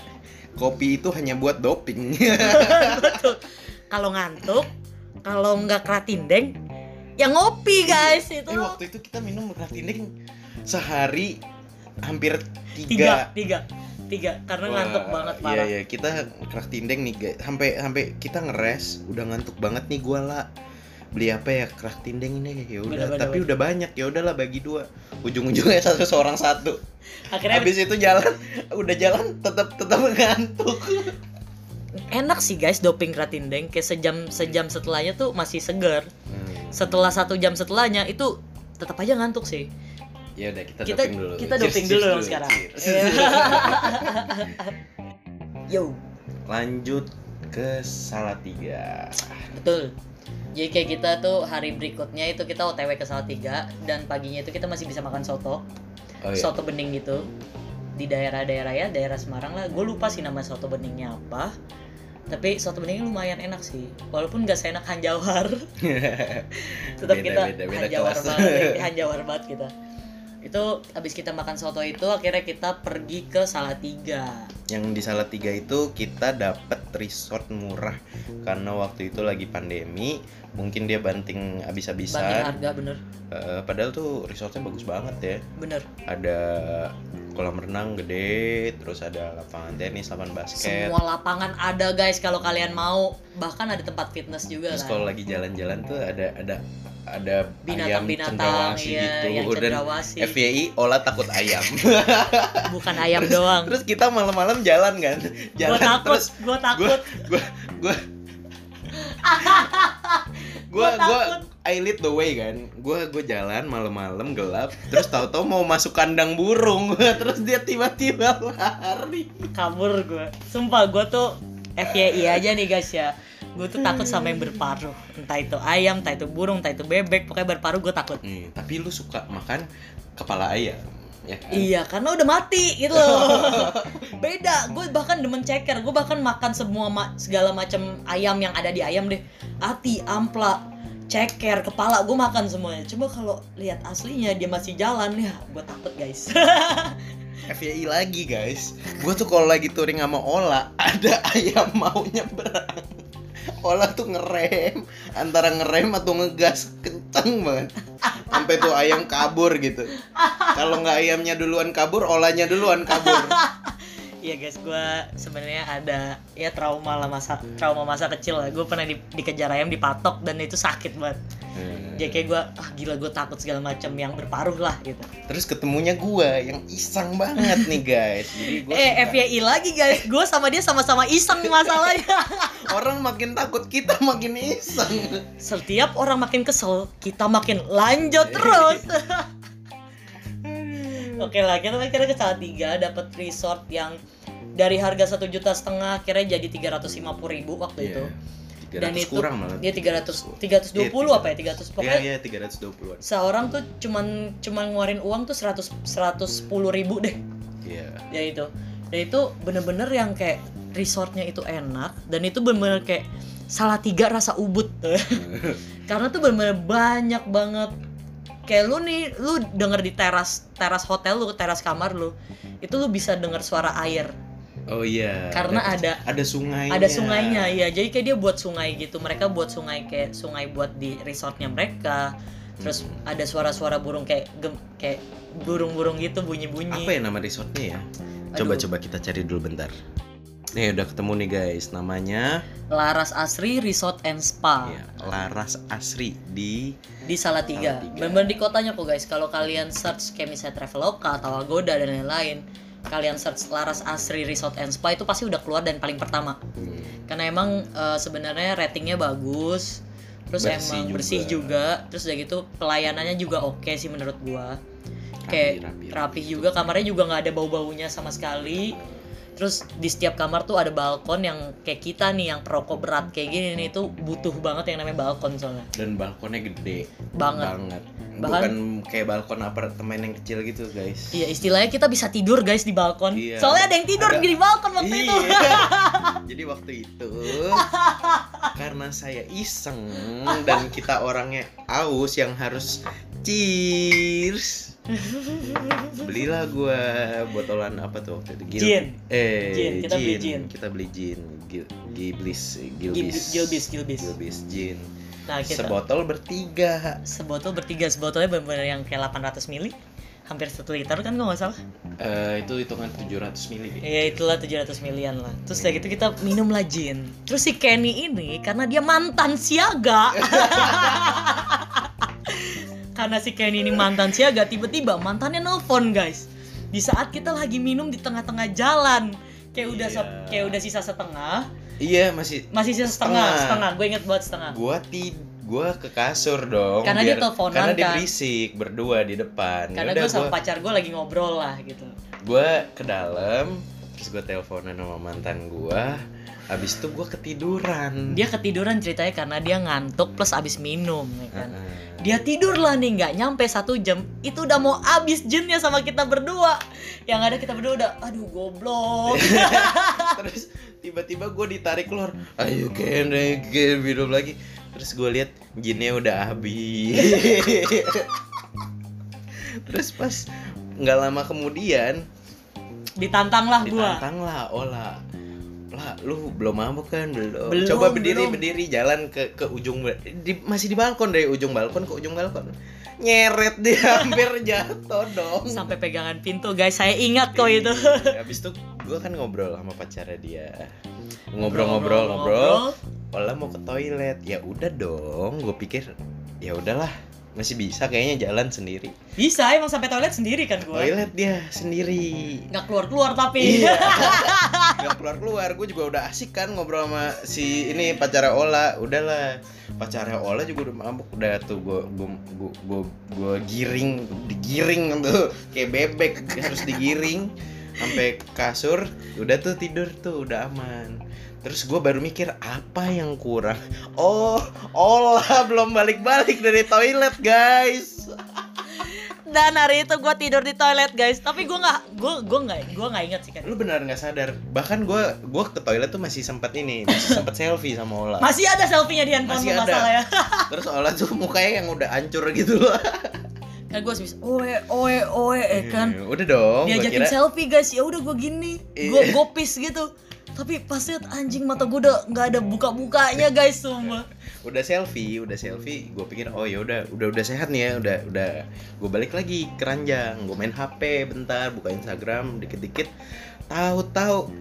Speaker 1: kopi itu hanya buat doping.
Speaker 2: Betul. Kalau ngantuk, kalau nggak kratindeng, ya ngopi guys itu.
Speaker 1: eh, waktu itu kita minum Ratinding sehari hampir tiga.
Speaker 2: tiga, tiga, tiga. Karena
Speaker 1: Wah,
Speaker 2: ngantuk banget
Speaker 1: iya,
Speaker 2: parah.
Speaker 1: Iya, kita Ratinding nih, guys. sampai sampai kita ngeres, udah ngantuk banget nih gua lah. Beli apa ya Ratinding ini ya udah,
Speaker 2: Bener-bener.
Speaker 1: tapi udah banyak ya udahlah bagi dua. Ujung-ujungnya satu seorang satu.
Speaker 2: Akhirnya
Speaker 1: Habis itu jalan, udah jalan tetap tetap ngantuk.
Speaker 2: enak sih guys doping kratindeng. Kayak sejam sejam setelahnya tuh masih segar.
Speaker 1: Hmm,
Speaker 2: Setelah satu jam setelahnya itu tetap aja ngantuk sih.
Speaker 1: Ya udah kita,
Speaker 2: Kita-
Speaker 1: doping dulu.
Speaker 2: kita
Speaker 1: Cheers,
Speaker 2: doping
Speaker 1: cheers
Speaker 2: dulu dong sekarang. Iya.
Speaker 1: cheers.
Speaker 2: Yo,
Speaker 1: Lanjut ke Salatiga.
Speaker 2: betul. Jadi kayak kita tuh hari berikutnya itu kita OTW ke Salatiga dan paginya itu kita masih bisa makan soto,
Speaker 1: Oh, iya.
Speaker 2: soto bening gitu di daerah-daerah ya, daerah Semarang lah. Gue lupa sih nama soto beningnya apa. Tapi soto beningnya lumayan enak sih, walaupun gak seenak Hanjawar. tetap
Speaker 1: Beda,
Speaker 2: kita
Speaker 1: beda, beda
Speaker 2: hanjawar
Speaker 1: kelas.
Speaker 2: banget ya, hanjawar banget kita itu abis kita makan soto itu akhirnya kita pergi ke Salatiga
Speaker 1: Yang di Salatiga itu kita dapat resort murah karena waktu itu lagi pandemi, mungkin dia banting
Speaker 2: banding
Speaker 1: abis-abisan.
Speaker 2: harga bener
Speaker 1: Eh, padahal tuh resortnya bagus banget ya.
Speaker 2: bener
Speaker 1: Ada kolam renang gede, terus ada lapangan tenis, lapangan basket.
Speaker 2: semua lapangan ada guys kalau kalian mau bahkan ada tempat fitness juga
Speaker 1: Terus
Speaker 2: kan
Speaker 1: kalau lagi jalan-jalan tuh ada ada ada ayam
Speaker 2: binatang-binatang
Speaker 1: cendrawasih
Speaker 2: iya, yang
Speaker 1: gitu dan
Speaker 2: cendrawasih
Speaker 1: FYI Ola takut ayam.
Speaker 2: bukan ayam doang
Speaker 1: terus kita malam-malam jalan kan.
Speaker 2: gue
Speaker 1: Jalan
Speaker 2: takut
Speaker 1: terus
Speaker 2: gue takut
Speaker 1: gua gua
Speaker 2: Gua takut.
Speaker 1: I lead the way kan. Gua gua jalan malam-malam gelap terus tahu-tahu mau masuk kandang burung terus dia tiba-tiba lari.
Speaker 2: kabur gue sumpah gue tuh FYI aja nih guys ya gue tuh takut sama yang berparuh entah itu ayam entah itu burung entah itu bebek pokoknya berparuh gue takut
Speaker 1: Nih, Hmm, tapi lu suka makan kepala ayam ya kan?
Speaker 2: Iya, karena udah mati gitu loh. Beda, gue bahkan demen ceker, gue bahkan makan semua ma- segala macam ayam yang ada di ayam deh. Ati, ampla, ceker, kepala, gue makan semuanya. Coba kalau lihat aslinya dia masih jalan ya, gue takut guys.
Speaker 1: FYI lagi guys Gue tuh kalau lagi touring sama Ola Ada ayam mau nyebrang Ola tuh ngerem Antara ngerem atau ngegas Kenceng banget Sampai tuh ayam kabur gitu Kalau nggak ayamnya duluan kabur Olanya duluan kabur
Speaker 2: Iya guys, gue sebenarnya ada ya trauma lah masa trauma masa kecil lah. Gue pernah di- dikejar ayam dipatok dan itu sakit banget. Jadi kayak gue ah gila gue takut segala macam yang berparuh lah gitu.
Speaker 1: Terus ketemunya gua Yang iseng banget nih guys Jadi gua
Speaker 2: eh
Speaker 1: suka-
Speaker 2: FYI lagi guys, gue sama dia sama-sama iseng masalahnya.
Speaker 1: Orang makin takut kita makin iseng
Speaker 2: Setiap orang makin kesel, kita makin lanjut terus. Oke lah, kita akhirnya ke Salatiga dapat resort yang dari harga satu juta setengah akhirnya jadi 350.000 ribu waktu itu.
Speaker 1: Iya.
Speaker 2: Dan
Speaker 1: 300
Speaker 2: itu-
Speaker 1: kurang malah
Speaker 2: Dia 300 320 apa ya 300 pokoknya
Speaker 1: Iya, iya 320-an
Speaker 2: seorang tuh cuman cuman ngeluarin uang tuh 100 110 ribu deh
Speaker 1: Iya
Speaker 2: ya itu dan itu bener-bener yang kayak resortnya itu enak dan itu bener-bener kayak salah tiga rasa ubud karena tuh bener-bener banyak banget kayak lu nih lu denger di teras teras hotel lu teras kamar lu itu lu bisa denger suara air
Speaker 1: Oh iya.
Speaker 2: karena ada
Speaker 1: ada sungainya.
Speaker 2: ada sungainya ya jadi kayak dia buat sungai gitu mereka buat sungai kayak sungai buat di resortnya mereka terus
Speaker 1: Hmm.
Speaker 2: ada suara-suara burung kayak gem, kayak burung-burung gitu bunyi-bunyi
Speaker 1: Apa ya nama resortnya ya?
Speaker 2: Aduh.
Speaker 1: Coba coba kita cari dulu bentar. Nih udah ketemu nih guys, namanya
Speaker 2: Laras Asri Resort and Spa
Speaker 1: ya, Laras Asri di
Speaker 2: di Salatiga.
Speaker 1: Salatiga.
Speaker 2: Bener-bener di kotanya kok guys. Kalau kalian search kayak misalnya Traveloka atau Agoda dan lain-lain, kalian search Laras Asri Resort and Spa itu pasti udah keluar dan paling pertama
Speaker 1: Hmm.
Speaker 2: karena emang eh, sebenarnya ratingnya bagus terus
Speaker 1: Bersih
Speaker 2: emang
Speaker 1: juga.
Speaker 2: bersih juga terus udah gitu pelayanannya juga oke sih menurut gua
Speaker 1: Rapi,
Speaker 2: kayak
Speaker 1: rapi, rapi.
Speaker 2: rapih juga kamarnya juga nggak ada bau baunya sama sekali terus di setiap kamar tuh ada balkon yang kayak kita nih yang perokok berat kayak gini nih itu butuh banget yang namanya balkon soalnya
Speaker 1: dan balkonnya gede
Speaker 2: banget
Speaker 1: banget bukan
Speaker 2: Bahkan-
Speaker 1: kayak balkon apartemen yang kecil gitu guys
Speaker 2: iya istilahnya kita bisa tidur guys di balkon
Speaker 1: Iya.
Speaker 2: soalnya ada yang tidur
Speaker 1: Ada-
Speaker 2: di balkon waktu itu
Speaker 1: Iya. Jadi waktu itu karena saya iseng dan kita orangnya aus yang harus cheers. Belilah gua botolan apa tuh waktu itu? Gil-
Speaker 2: Gin.
Speaker 1: Eh,
Speaker 2: Gin, kita beli gin.
Speaker 1: Kita beli gin. Gil Giblis,
Speaker 2: Gil-
Speaker 1: Gilbis.
Speaker 2: Gilbis, Gilbis.
Speaker 1: Gilbis gin.
Speaker 2: nah kita
Speaker 1: Sebotol bertiga.
Speaker 2: sebotol bertiga sebotolnya benar-benar yang kayak 800 mili hampir satu liter kan gua nggak salah
Speaker 1: Eh, itu hitungan 700 mili.
Speaker 2: ya itulah 700 milian lah
Speaker 1: Iya.
Speaker 2: terus kayak gitu kita minum lah gin terus si Kenny ini karena dia mantan siaga karena si Kenny ini mantan siaga tiba-tiba mantannya nelfon guys di saat kita lagi minum di tengah-tengah jalan kayak udah sep-
Speaker 1: Iya.
Speaker 2: kayak udah sisa setengah
Speaker 1: Iya, masih
Speaker 2: masih sisa setengah
Speaker 1: Setengah.
Speaker 2: setengah gue inget buat setengah
Speaker 1: gua tid gua ke kasur dong
Speaker 2: Karena dia teleponan,
Speaker 1: karena dia
Speaker 2: kan?
Speaker 1: berisik berdua di depan
Speaker 2: karena
Speaker 1: Yaudah,
Speaker 2: gue sama
Speaker 1: Ya gua
Speaker 2: pacar gue lagi ngobrol lah gitu
Speaker 1: gua ke dalam terus gua teleponan sama mantan gua habis itu gua ketiduran
Speaker 2: dia ketiduran ceritanya karena dia ngantuk plus abis minum ya kan
Speaker 1: Heeh.
Speaker 2: Dia tidur lah nih nggak nyampe satu jam Itu udah mau abis jinnya sama kita berdua Yang ada kita berdua udah Aduh goblok
Speaker 1: terus tiba-tiba gua ditarik keluar ayo Ken ayo Ken minum lagi terus gua lihat jinnya udah habis terus pas nggak lama kemudian
Speaker 2: Ditantang lah gua
Speaker 1: ditantang lah ola lah lu belum mabuk kan belum,
Speaker 2: Belum,
Speaker 1: coba berdiri
Speaker 2: belum.
Speaker 1: berdiri jalan ke ke ujung ba- di, masih di balkon dari ujung balkon ke ujung balkon nyeret dia hampir jatuh dong
Speaker 2: Sampai pegangan pintu guys Saya ingat kok itu
Speaker 1: Iya, habis itu gua kan ngobrol sama pacarnya dia ngobrol-ngobrol ngobrol ola mau ke toilet ya udah dong gue pikir ya udahlah masih bisa kayaknya jalan sendiri
Speaker 2: Bisa emang sampai toilet sendiri kan gua
Speaker 1: toilet dia sendiri
Speaker 2: nggak keluar-keluar tapi
Speaker 1: Iya. Gak keluar keluar, gue juga udah asik kan ngobrol sama si ini pacarnya Ola, udahlah pacarnya Ola juga udah mabuk, udah tuh gue gue gue gue, giring, digiring tuh kayak bebek harus digiring sampai kasur, udah tuh tidur tuh udah aman. Terus gue baru mikir apa yang kurang. Oh, Ola belum balik-balik dari toilet guys.
Speaker 2: Dan hari itu gua tidur di toilet guys Tapi gua nggak gua gua nggak gua nggak ingat sih kan
Speaker 1: Lu benar nggak sadar? Bahkan gue gue ke toilet tuh masih sempat ini, masih sempat selfie sama Ola.
Speaker 2: Masih ada selfie-nya di handphone
Speaker 1: Masih
Speaker 2: lu nggak
Speaker 1: ada.
Speaker 2: salah ya
Speaker 1: Terus Ola tuh mukanya yang udah hancur gitu loh.
Speaker 2: Kan gua habis oe oe oe eh kan
Speaker 1: Hmm, udah dong. gua
Speaker 2: diajakin
Speaker 1: kira
Speaker 2: selfie guys ya udah gue gini gue
Speaker 1: Iya.
Speaker 2: gopis gitu tapi pas liat anjing mata gue udah nggak ada buka bukanya guys semua
Speaker 1: udah selfie, udah selfie. Gue pikir oh ya udah, udah udah sehat nih ya, udah udah. Gue balik lagi ke ranjang, gue main HP bentar, buka Instagram dikit-dikit. Tahu-tahu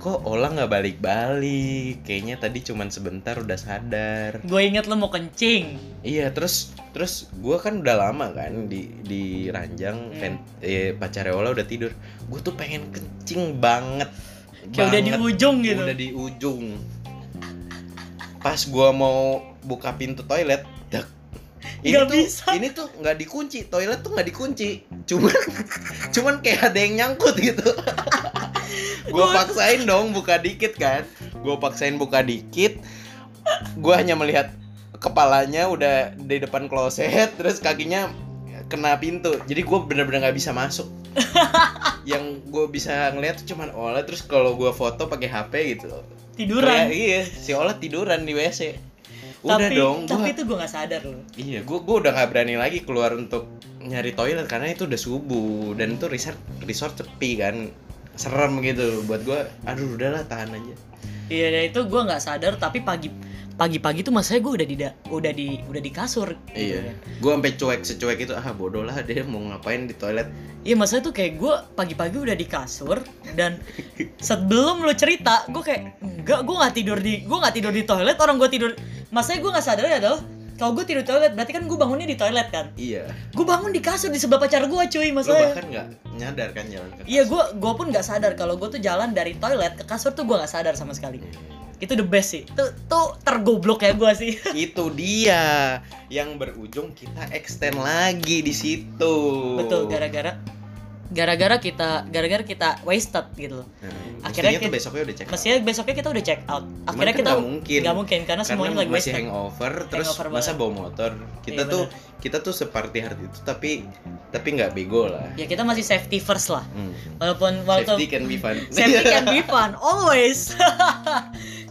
Speaker 1: kok Ola nggak balik-balik. Kayaknya tadi cuman sebentar udah sadar.
Speaker 2: gue inget lo mau kencing
Speaker 1: Iya, terus terus gua kan udah lama kan di di ranjang
Speaker 2: Hmm.
Speaker 1: ven- eh, pacarnya Ola udah tidur. Gue tuh pengen kencing banget.
Speaker 2: kayak udah di
Speaker 1: Banget.
Speaker 2: ujung gitu
Speaker 1: udah di ujung pas gua mau buka pintu toilet dak ini
Speaker 2: Nggak
Speaker 1: tuh
Speaker 2: bisa.
Speaker 1: ini tuh nggak dikunci toilet tuh nggak dikunci cuman cuman kayak ada yang nyangkut gitu gua
Speaker 2: Gua-
Speaker 1: paksain dong buka dikit kan gua paksain buka dikit gua hanya melihat kepalanya udah di depan kloset terus kakinya kena pintu jadi gue bener-bener nggak bisa masuk yang gue bisa ngeliat tuh cuman Ola terus kalau gue foto pakai HP gitu Kayak,
Speaker 2: tiduran
Speaker 1: iya si Ola tiduran di WC udah
Speaker 2: tapi
Speaker 1: dong
Speaker 2: tapi
Speaker 1: gue
Speaker 2: itu gue nggak sadar lo
Speaker 1: iya gue gue udah nggak berani lagi keluar untuk nyari toilet karena itu udah subuh dan itu resort resort sepi kan serem gitu buat gue aduh udahlah tahan aja
Speaker 2: iya dan itu gue nggak sadar tapi pagi pagi-pagi tuh masalahnya gue udah di da- udah di udah di kasur
Speaker 1: Iya.
Speaker 2: gitu kan.
Speaker 1: Gue sampai cuek secuek itu ah bodoh lah dia mau ngapain di toilet.
Speaker 2: iya masalahnya tuh kayak gue pagi-pagi udah di kasur dan sebelum lo cerita gue kayak enggak gue nggak tidur di gue nggak tidur di toilet orang gue tidur masalahnya gue nggak sadar ya adalah kalau gue tidur di toilet berarti kan gue bangunnya di toilet kan
Speaker 1: Iya.
Speaker 2: gue bangun di kasur di sebelah pacar gue cuy
Speaker 1: Lo
Speaker 2: masalahnya
Speaker 1: bahkan nggak nyadar kan jalan ke
Speaker 2: iya gue gue pun nggak sadar kalau gue tuh jalan dari toilet ke kasur tuh gue nggak sadar sama sekali
Speaker 1: Iya.
Speaker 2: itu the best sih tuh tuh tergoblok ya gue sih
Speaker 1: itu dia yang berujung kita extend lagi di situ.
Speaker 2: betul gara-gara gara-gara kita gara-gara kita wasted gitu loh
Speaker 1: akhirnya
Speaker 2: Akhirnya kita-
Speaker 1: Nah, tuh besoknya udah cek. out.
Speaker 2: Mestinya besoknya kita udah check out.
Speaker 1: Cuman
Speaker 2: Akhirnya
Speaker 1: kan
Speaker 2: kita
Speaker 1: nggak mungkin.
Speaker 2: nggak mungkin karena semuanya
Speaker 1: Karena
Speaker 2: lagi
Speaker 1: masih
Speaker 2: wasted.
Speaker 1: hangover terus
Speaker 2: Hangover
Speaker 1: masa bawa motor kita
Speaker 2: Iya,
Speaker 1: tuh kita tuh separty hard itu tapi tapi nggak bego lah
Speaker 2: Ya kita masih safety first lah.
Speaker 1: Hmm.
Speaker 2: Walaupun
Speaker 1: safety
Speaker 2: walaupun
Speaker 1: can be fun
Speaker 2: safety can be fun always.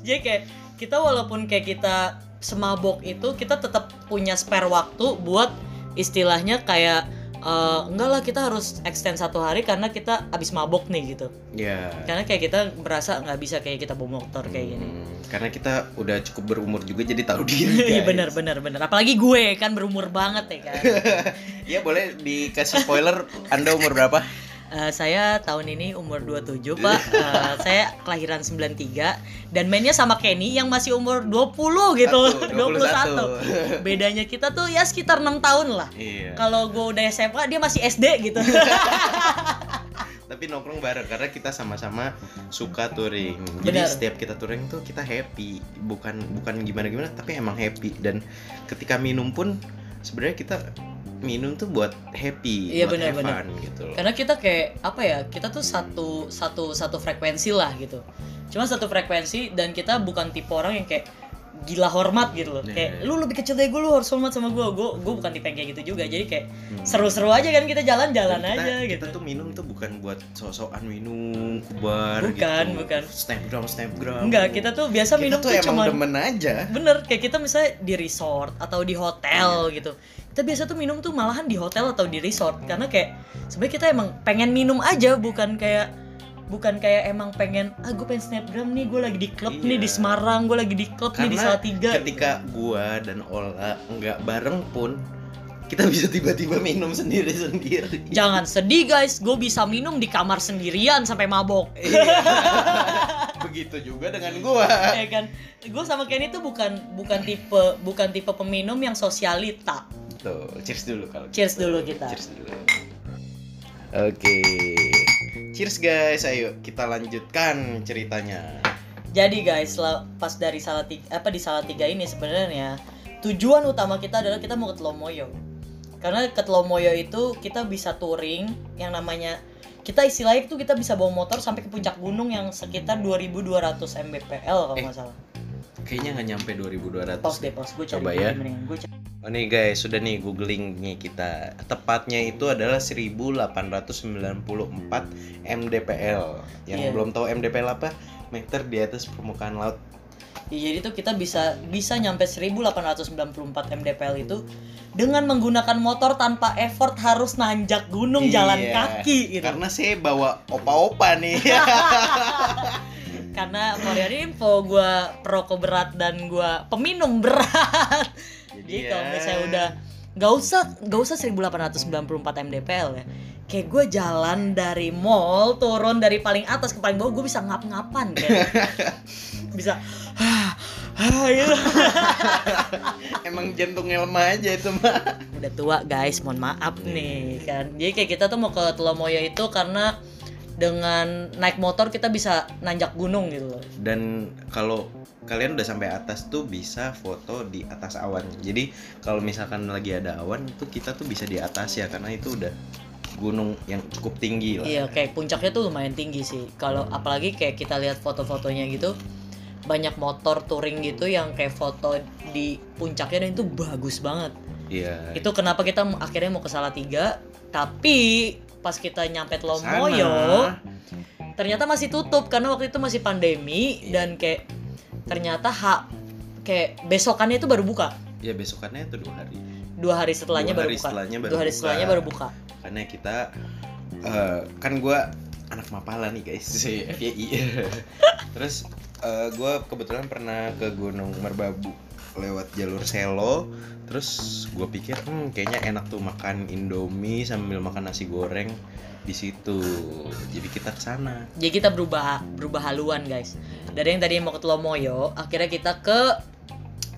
Speaker 2: Jadi kayak kita walaupun kayak kita semabok itu kita tetap punya spare waktu buat istilahnya kayak eh, enggak lah kita harus extend satu hari karena kita abis mabok nih gitu
Speaker 1: ya
Speaker 2: karena kayak kita merasa nggak bisa kayak kita bawa motor kayak gini
Speaker 1: Hmm, karena kita udah cukup berumur juga jadi tahu diri guys.
Speaker 2: iya benar benar benar apalagi gue kan berumur banget ya kan
Speaker 1: ya boleh dikasih spoiler anda umur berapa
Speaker 2: Eh, saya tahun ini umur 27 pak Eh, Saya kelahiran 93 Dan mainnya sama Kenny yang masih umur 20 gitu
Speaker 1: Satu,
Speaker 2: 21. Bedanya kita tuh ya sekitar 6 tahun lah
Speaker 1: iya
Speaker 2: Kalau gue udah SMA dia masih SD gitu
Speaker 1: tapi nongkrong bareng karena kita sama-sama suka touring jadi
Speaker 2: Benar.
Speaker 1: setiap kita touring tuh kita happy bukan bukan gimana gimana tapi emang happy dan ketika minum pun sebenarnya kita minum tuh buat happy
Speaker 2: Iya,
Speaker 1: buat
Speaker 2: benar,
Speaker 1: have
Speaker 2: benar. Kan
Speaker 1: fun gitu loh
Speaker 2: Karena kita kayak apa ya Kita tuh satu satu satu frekuensi lah gitu Cuma satu frekuensi dan kita bukan tipe orang yang kayak gila hormat gitu loh
Speaker 1: Iya,
Speaker 2: Kayak
Speaker 1: iya.
Speaker 2: lu lebih kecil dari gue lu harus hormat sama gue Gue gue bukan tipe yang kayak gitu juga Jadi kayak
Speaker 1: Hmm.
Speaker 2: seru-seru aja kan kita jalan-jalan
Speaker 1: Dan kita,
Speaker 2: aja gitu
Speaker 1: kita tuh minum tuh bukan buat sosokan minum kubar
Speaker 2: Bukan,
Speaker 1: gitu.
Speaker 2: bukan.
Speaker 1: snapgram snapgram
Speaker 2: Enggak, kita tuh biasa
Speaker 1: Kita
Speaker 2: minum
Speaker 1: tuh
Speaker 2: tuh
Speaker 1: emang
Speaker 2: cuman
Speaker 1: demen aja
Speaker 2: bener kayak kita misalnya di resort atau di
Speaker 1: Iya.
Speaker 2: hotel gitu. Kita biasa tuh minum tuh malahan di hotel atau di resort karena kayak sebenarnya kita emang pengen minum aja bukan kayak bukan kayak emang pengen ah gue pengen snapgram nih gue lagi di klub nih di
Speaker 1: Iya.
Speaker 2: Semarang gue lagi di klub nih di
Speaker 1: Karena
Speaker 2: Salatiga
Speaker 1: ketika gua dan Ola nggak bareng pun kita bisa tiba-tiba minum sendiri-sendiri
Speaker 2: jangan sedih guys gue bisa minum di kamar sendirian sampai mabok
Speaker 1: Iya. Begitu juga dengan gua.
Speaker 2: ya kan gue sama Kenny tuh bukan bukan tipe bukan tipe peminum yang sosialita
Speaker 1: Tuh, cheers dulu kalau.
Speaker 2: Cheers
Speaker 1: gitu.
Speaker 2: dulu kita.
Speaker 1: Cheers dulu. Oke. Cheers guys, ayo kita lanjutkan ceritanya.
Speaker 2: Jadi guys, la- pas dari Salatiga apa di Salatiga ini sebenarnya tujuan utama kita adalah kita mau ke Tlomoyo. Karena ke Tlomoyo itu kita bisa touring yang namanya kita istilahnya itu kita bisa bawa motor sampai ke puncak gunung yang sekitar 2200 mbpl kalau
Speaker 1: Eh,
Speaker 2: nggak salah.
Speaker 1: Kayaknya nggak nyampe 2200.
Speaker 2: Pause deh, pause. Gue cari
Speaker 1: coba ya.
Speaker 2: mendingan. Gua cari.
Speaker 1: Oh nih guys, sudah nih googling nih kita. Tepatnya itu adalah 1894 MDPL. Yang
Speaker 2: Iya.
Speaker 1: belum tahu MDPL apa? Meter di atas permukaan laut.
Speaker 2: Ya, jadi tuh kita bisa bisa nyampe 1894 mdpl itu dengan menggunakan motor tanpa effort harus nanjak gunung jalan
Speaker 1: Iya.
Speaker 2: kaki gitu.
Speaker 1: Karena saya bawa opa-opa nih.
Speaker 2: karena for your info gue perokok berat dan gue peminum berat jadi kalau
Speaker 1: ya,
Speaker 2: misalnya udah nggak usah nggak usah 1894 mdpl ya kayak gue jalan dari mall turun dari paling atas ke paling bawah gue bisa ngap-ngapan kayak bisa "Ah, "Hah, hah," gitu.
Speaker 1: emang jantungnya lemah aja itu mah.
Speaker 2: udah tua guys mohon maaf nih kan jadi kayak kita tuh mau ke Telamoya itu karena dengan naik motor kita bisa nanjak gunung gitu loh
Speaker 1: dan kalau kalian udah sampai atas tuh bisa foto di atas awan jadi kalau misalkan lagi ada awan tuh kita tuh bisa di atas ya karena itu udah gunung yang cukup tinggi lah
Speaker 2: Iya, kayak puncaknya tuh lumayan tinggi sih. Kalau apalagi kayak kita lihat foto-fotonya gitu, banyak motor touring gitu yang kayak foto di puncaknya dan itu bagus banget.
Speaker 1: Iya.
Speaker 2: Itu kenapa kita m- akhirnya mau ke Salatiga, tapi pas kita nyampe Tlomoyo,
Speaker 1: Sana.
Speaker 2: ternyata masih tutup karena waktu itu masih pandemi
Speaker 1: Iya.
Speaker 2: dan kayak ternyata ha, kayak besokannya itu baru buka.
Speaker 1: ya besokannya tuh dua hari
Speaker 2: Dua hari setelahnya
Speaker 1: Dua
Speaker 2: baru
Speaker 1: hari
Speaker 2: buka.
Speaker 1: setelahnya baru
Speaker 2: Dua hari
Speaker 1: buka.
Speaker 2: setelahnya baru buka.
Speaker 1: karena kita eh, kan gua anak mapala nih guys si FYI terus eh, gua kebetulan pernah ke Gunung Merbabu lewat jalur Selo terus gua pikir hmm, kayaknya enak tuh makan Indomie sambil makan nasi goreng di situ jadi kita ke sana
Speaker 2: Jadi kita berubah berubah haluan guys. Dari yang tadi mau ke Tlomoyo, akhirnya kita ke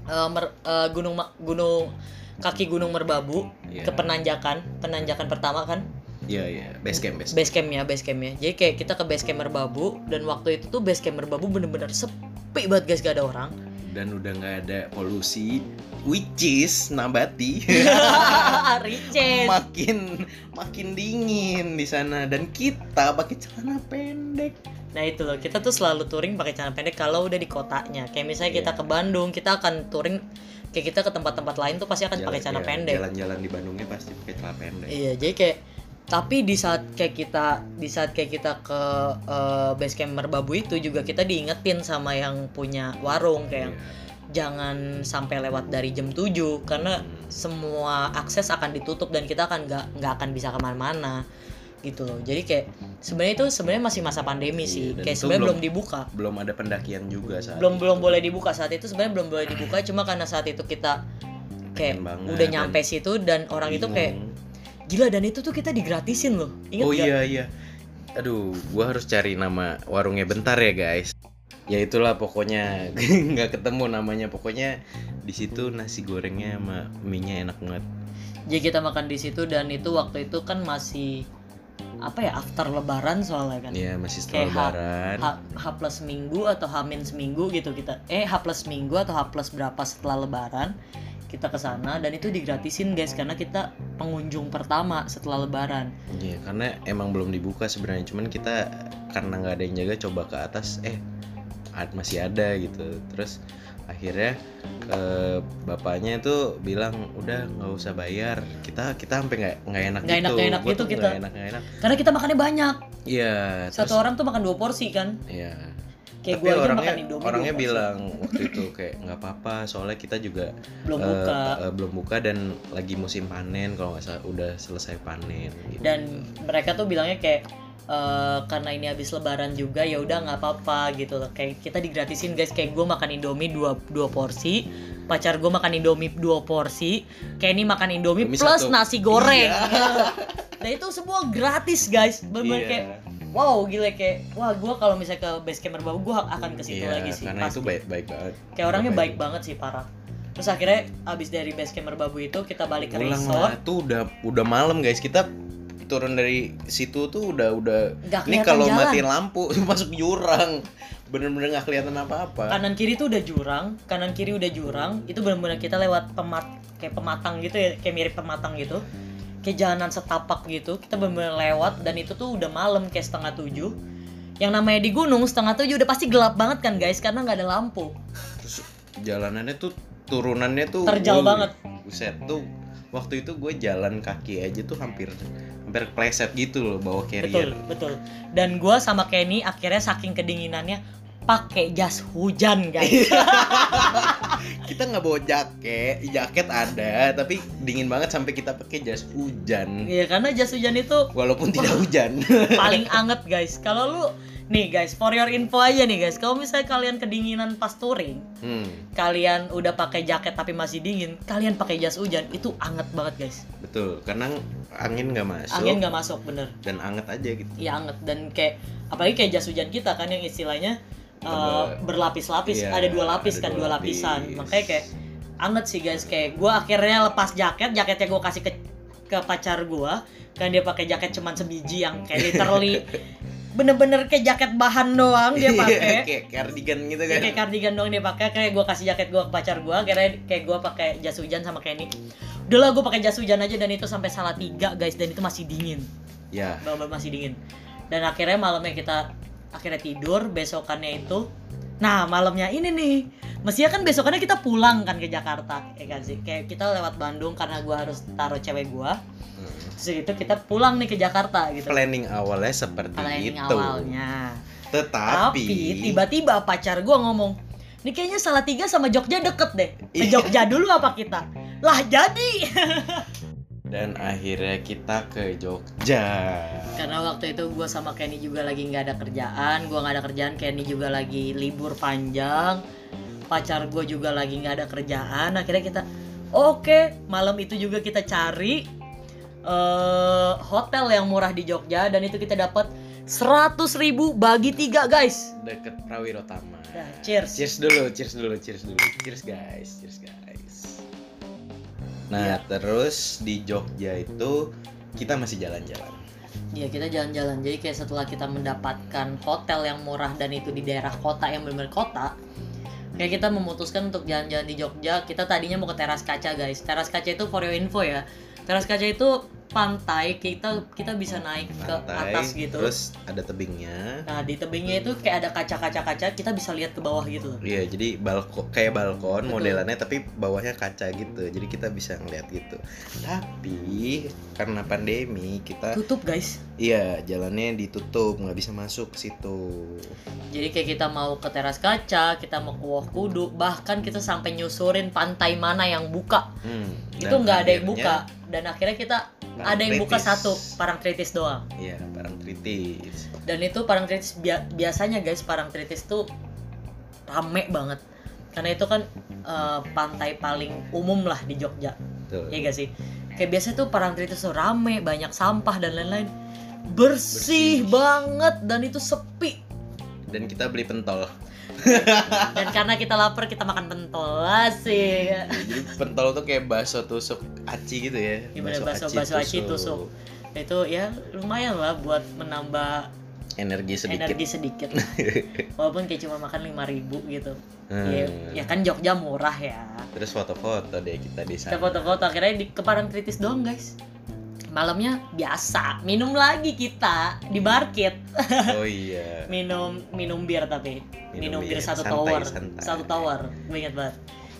Speaker 2: eh, mer- eh, gunung Ma- gunung kaki gunung Merbabu
Speaker 1: Iya.
Speaker 2: ke penanjakan penanjakan pertama kan
Speaker 1: Iya iya, base camp base. camp.
Speaker 2: base campnya base campnya jadi kayak kita ke base camp Merbabu dan waktu itu tuh base camp Merbabu bener-bener sepi banget guys gak ada orang
Speaker 1: Dan udah nggak ada polusi, which is nabati.
Speaker 2: Ricis
Speaker 1: makin makin dingin di sana dan kita pakai celana pendek.
Speaker 2: Nah itu loh, kita tuh selalu touring pakai celana pendek kalau udah di kotanya. Kayak misalnya kita
Speaker 1: Iya.
Speaker 2: ke Bandung, kita akan touring kayak kita ke tempat-tempat lain tuh pasti akan
Speaker 1: Jalan-
Speaker 2: pakai celana
Speaker 1: ya,
Speaker 2: pendek.
Speaker 1: Jalan-jalan di Bandungnya pasti pakai celana pendek.
Speaker 2: Iya, jadi kayak tapi di saat kayak kita di saat kayak kita ke eh, base camp Merbabu itu juga kita diingetin sama yang punya warung
Speaker 1: Iya.
Speaker 2: kayak jangan sampai lewat dari jam 7 karena
Speaker 1: Hmm.
Speaker 2: semua akses akan ditutup dan kita akan nggak nggak akan bisa kemana-mana gitu loh jadi kayak sebenarnya itu sebenarnya masih masa pandemi
Speaker 1: Iya,
Speaker 2: sih
Speaker 1: dan
Speaker 2: kayak
Speaker 1: itu
Speaker 2: sebenarnya
Speaker 1: belum-
Speaker 2: belum dibuka
Speaker 1: Belum ada pendakian juga saat
Speaker 2: belum
Speaker 1: itu.
Speaker 2: belum boleh dibuka saat itu sebenarnya belum boleh dibuka cuma karena saat itu kita kayak
Speaker 1: Pengen banget,
Speaker 2: udah
Speaker 1: dan
Speaker 2: nyampe situ dan orang itu kayak
Speaker 1: bingung.
Speaker 2: gila dan itu tuh kita digratisin loh ingat
Speaker 1: Oh
Speaker 2: nggak?
Speaker 1: iya iya. Aduh, gua harus cari nama warungnya bentar ya, guys. Ya itulah pokoknya nggak ketemu namanya. Pokoknya di situ nasi gorengnya sama mie-nya enak banget.
Speaker 2: jadi kita makan di situ dan itu waktu itu kan masih apa ya after lebaran soalnya kan
Speaker 1: Ya masih setelah
Speaker 2: Kayak ha-
Speaker 1: lebaran.
Speaker 2: H, H plus minggu atau H min seminggu gitu kita eh H plus minggu atau H plus berapa setelah lebaran kita ke sana dan itu digratisin guys karena kita pengunjung pertama setelah lebaran
Speaker 1: Iya, karena emang belum dibuka sebenarnya. Cuman kita karena nggak ada yang jaga coba ke atas eh ad- masih ada gitu. Terus akhirnya eh, bapaknya itu bilang udah nggak usah bayar. Kita kita sampai nggak nggak enak
Speaker 2: Nggak
Speaker 1: gitu.
Speaker 2: enak- nggak enak
Speaker 1: Gua
Speaker 2: gitu
Speaker 1: tuh
Speaker 2: kita.
Speaker 1: nggak enak nggak enak.
Speaker 2: karena kita makannya banyak
Speaker 1: Iya.
Speaker 2: satu orang tuh makan dua porsi kan
Speaker 1: Iya.
Speaker 2: kayak
Speaker 1: Tapi
Speaker 2: gue aja
Speaker 1: orangnya
Speaker 2: makan Indomie
Speaker 1: orangnya
Speaker 2: dua porsi.
Speaker 1: bilang waktu itu kayak nggak apa-apa soalnya kita juga
Speaker 2: belum
Speaker 1: eh,
Speaker 2: buka
Speaker 1: eh, belum buka dan lagi musim panen kalau nggak salah udah selesai panen. Gitu.
Speaker 2: dan mereka tuh bilangnya kayak eh, karena ini habis lebaran juga ya udah nggak apa-apa gitu loh kayak kita digratisin guys kayak gue makan indomie dua, dua porsi pacar gue makan indomie dua porsi kayak ini makan indomie
Speaker 1: Indomie satu.
Speaker 2: plus nasi goreng
Speaker 1: Iya.
Speaker 2: dan itu semua gratis guys bener
Speaker 1: Iya.
Speaker 2: kayak wow gila kayak wah gue kalau misalnya ke base camp Merbabu gue akan ke situ
Speaker 1: Iya,
Speaker 2: lagi sih
Speaker 1: karena
Speaker 2: pasti.
Speaker 1: itu baik ya. baik banget.
Speaker 2: kayak orangnya
Speaker 1: baik.
Speaker 2: baik banget sih parah terus akhirnya abis dari base camp Merbabu itu kita balik ke
Speaker 1: Pulang lah
Speaker 2: resort
Speaker 1: itu udah udah malam guys kita turun dari situ tuh udah udah
Speaker 2: nggak
Speaker 1: ini
Speaker 2: kelihatan
Speaker 1: kalau
Speaker 2: jalan
Speaker 1: matiin lampu masuk jurang bener-bener nggak kelihatan apa-apa
Speaker 2: kanan kiri tuh udah jurang kanan kiri udah jurang itu benar-benar kita lewat pemat kayak pematang gitu ya kayak mirip pematang gitu kayak jalanan setapak gitu kita benar-benar lewat dan itu tuh udah malam kayak setengah tujuh yang namanya di gunung setengah tujuh udah pasti gelap banget kan guys karena nggak ada lampu
Speaker 1: terus jalanannya tuh turunannya tuh
Speaker 2: terjal
Speaker 1: wuh,
Speaker 2: banget
Speaker 1: buset tuh waktu itu gue jalan kaki aja tuh hampir hampir pleset gitu loh bawa
Speaker 2: betul
Speaker 1: carrier
Speaker 2: betul dan gua sama Kenny akhirnya saking kedinginannya pakai jas hujan guys
Speaker 1: kita nggak bawa jaket jaket ada tapi dingin banget sampai kita pakai jas hujan
Speaker 2: Iya karena jas hujan itu
Speaker 1: walaupun tidak hujan
Speaker 2: paling anget guys kalau lu nih guys for your info aja nih guys kalau misalnya kalian kedinginan pas touring
Speaker 1: hmm,
Speaker 2: kalian udah pakai jaket tapi masih dingin kalian pakai jas hujan itu anget banget guys
Speaker 1: betul karena angin nggak masuk
Speaker 2: angin nggak masuk bener
Speaker 1: dan anget aja gitu
Speaker 2: iya anget dan kayak apalagi kayak jas hujan kita kan yang istilahnya uh,
Speaker 1: Agak-
Speaker 2: berlapis-lapis
Speaker 1: Iya,
Speaker 2: ada dua lapis
Speaker 1: ada
Speaker 2: kan dua
Speaker 1: lapis.
Speaker 2: lapisan makanya kayak anget sih guys kayak gua akhirnya lepas jaket jaketnya gua kasih ke ke pacar gua kan dia pakai jaket cuman sebiji yang kayak literally bener-bener kayak jaket bahan doang dia pakai
Speaker 1: Iya, kayak cardigan gitu kan
Speaker 2: Dia kayak cardigan doang dia pakai kayak gue kasih jaket gue ke pacar gue akhirnya kayak gue pakai jas hujan sama Kenny udah lah gue pakai jas hujan aja dan itu sampai salah tiga guys dan itu masih dingin
Speaker 1: ya
Speaker 2: banget masih dingin dan akhirnya malamnya kita akhirnya tidur besokannya itu nah malamnya ini nih mestinya kan besokannya kita pulang kan ke Jakarta ya kan sih kayak kita lewat Bandung karena gue harus taruh cewek gue terus itu kita pulang nih ke Jakarta gitu
Speaker 1: mm. planning awalnya seperti
Speaker 2: planning
Speaker 1: itu
Speaker 2: awalnya
Speaker 1: tetapi
Speaker 2: tapi tiba-tiba pacar gua ngomong ini kayaknya salah tiga sama Jogja deket deh ke Jogja dulu apa kita lah jadi
Speaker 1: dan akhirnya kita ke Jogja
Speaker 2: karena waktu itu gua sama Kenny juga lagi nggak ada kerjaan gua nggak ada kerjaan Kenny juga lagi libur panjang pacar gua juga lagi nggak ada kerjaan akhirnya kita oke malam itu juga kita cari eh hotel yang murah di Jogja dan itu kita dapat 100.000 ribu bagi tiga guys
Speaker 1: deket Prawiro Taman
Speaker 2: Dah, cheers.
Speaker 1: Cheers dulu, cheers dulu, cheers dulu. Cheers guys, cheers guys. Nah,
Speaker 2: Iya.
Speaker 1: terus di Jogja itu kita masih jalan-jalan.
Speaker 2: Iya kita jalan-jalan jadi kayak setelah kita mendapatkan hotel yang murah dan itu di daerah kota yang benar-benar kota kayak kita memutuskan untuk jalan-jalan di Jogja kita tadinya mau ke teras kaca guys teras kaca itu for your info ya teras kaca itu pantai kita kita bisa naik ke
Speaker 1: Pantai,
Speaker 2: atas gitu
Speaker 1: terus ada tebingnya.
Speaker 2: nah di tebingnya itu kayak ada kaca-kaca-kaca kita bisa lihat ke bawah gitu loh
Speaker 1: Iya, jadi balkon kayak balkon
Speaker 2: Betul.
Speaker 1: modelannya tapi bawahnya kaca gitu. Jadi kita bisa ngeliat gitu. Tapi karena pandemi kita
Speaker 2: tutup guys
Speaker 1: iya jalannya ditutup, nggak bisa masuk ke situ.
Speaker 2: Jadi kayak kita mau ke teras kaca, kita mau ke Wah Kudu, bahkan kita sampai nyusurin pantai mana yang buka.
Speaker 1: Hmm,
Speaker 2: itu
Speaker 1: dan
Speaker 2: nggak ada yang
Speaker 1: akhirnya
Speaker 2: buka. Dan akhirnya kita
Speaker 1: parang
Speaker 2: ada yang buka
Speaker 1: kritis.
Speaker 2: satu, parangtritis doang.
Speaker 1: Iya, parangtritis.
Speaker 2: Dan itu parangtritis bia- biasanya guys, parangtritis tuh rame banget. Karena itu kan eh, pantai paling umum lah di Jogja.
Speaker 1: Tuh.
Speaker 2: Iya gak sih? Kayak biasanya tuh parangtritis tuh rame, banyak sampah dan lain-lain.
Speaker 1: Bersih.
Speaker 2: Bersih, banget dan itu sepi.
Speaker 1: Dan kita beli pentol.
Speaker 2: Dan karena kita lapar, kita makan pentol. Asik.
Speaker 1: Jadi pentol tuh kayak bakso tusuk aci gitu ya.
Speaker 2: Iya, bener, bakso- bakso aci tusuk. itu ya lumayan lah buat menambah
Speaker 1: Energi sedikit.
Speaker 2: energi sedikit walaupun kayak cuma makan 5000 ribu gitu
Speaker 1: Hmm.
Speaker 2: ya, ya kan Jogja murah ya
Speaker 1: Terus foto-foto deh kita di sana.
Speaker 2: kita foto-foto akhirnya di keparang kritis doang guys malamnya biasa minum lagi kita di market
Speaker 1: Oh iya.
Speaker 2: minum minum bir tapi minum, bir satu
Speaker 1: Santai,
Speaker 2: tower
Speaker 1: santai.
Speaker 2: satu tower gue ingat banget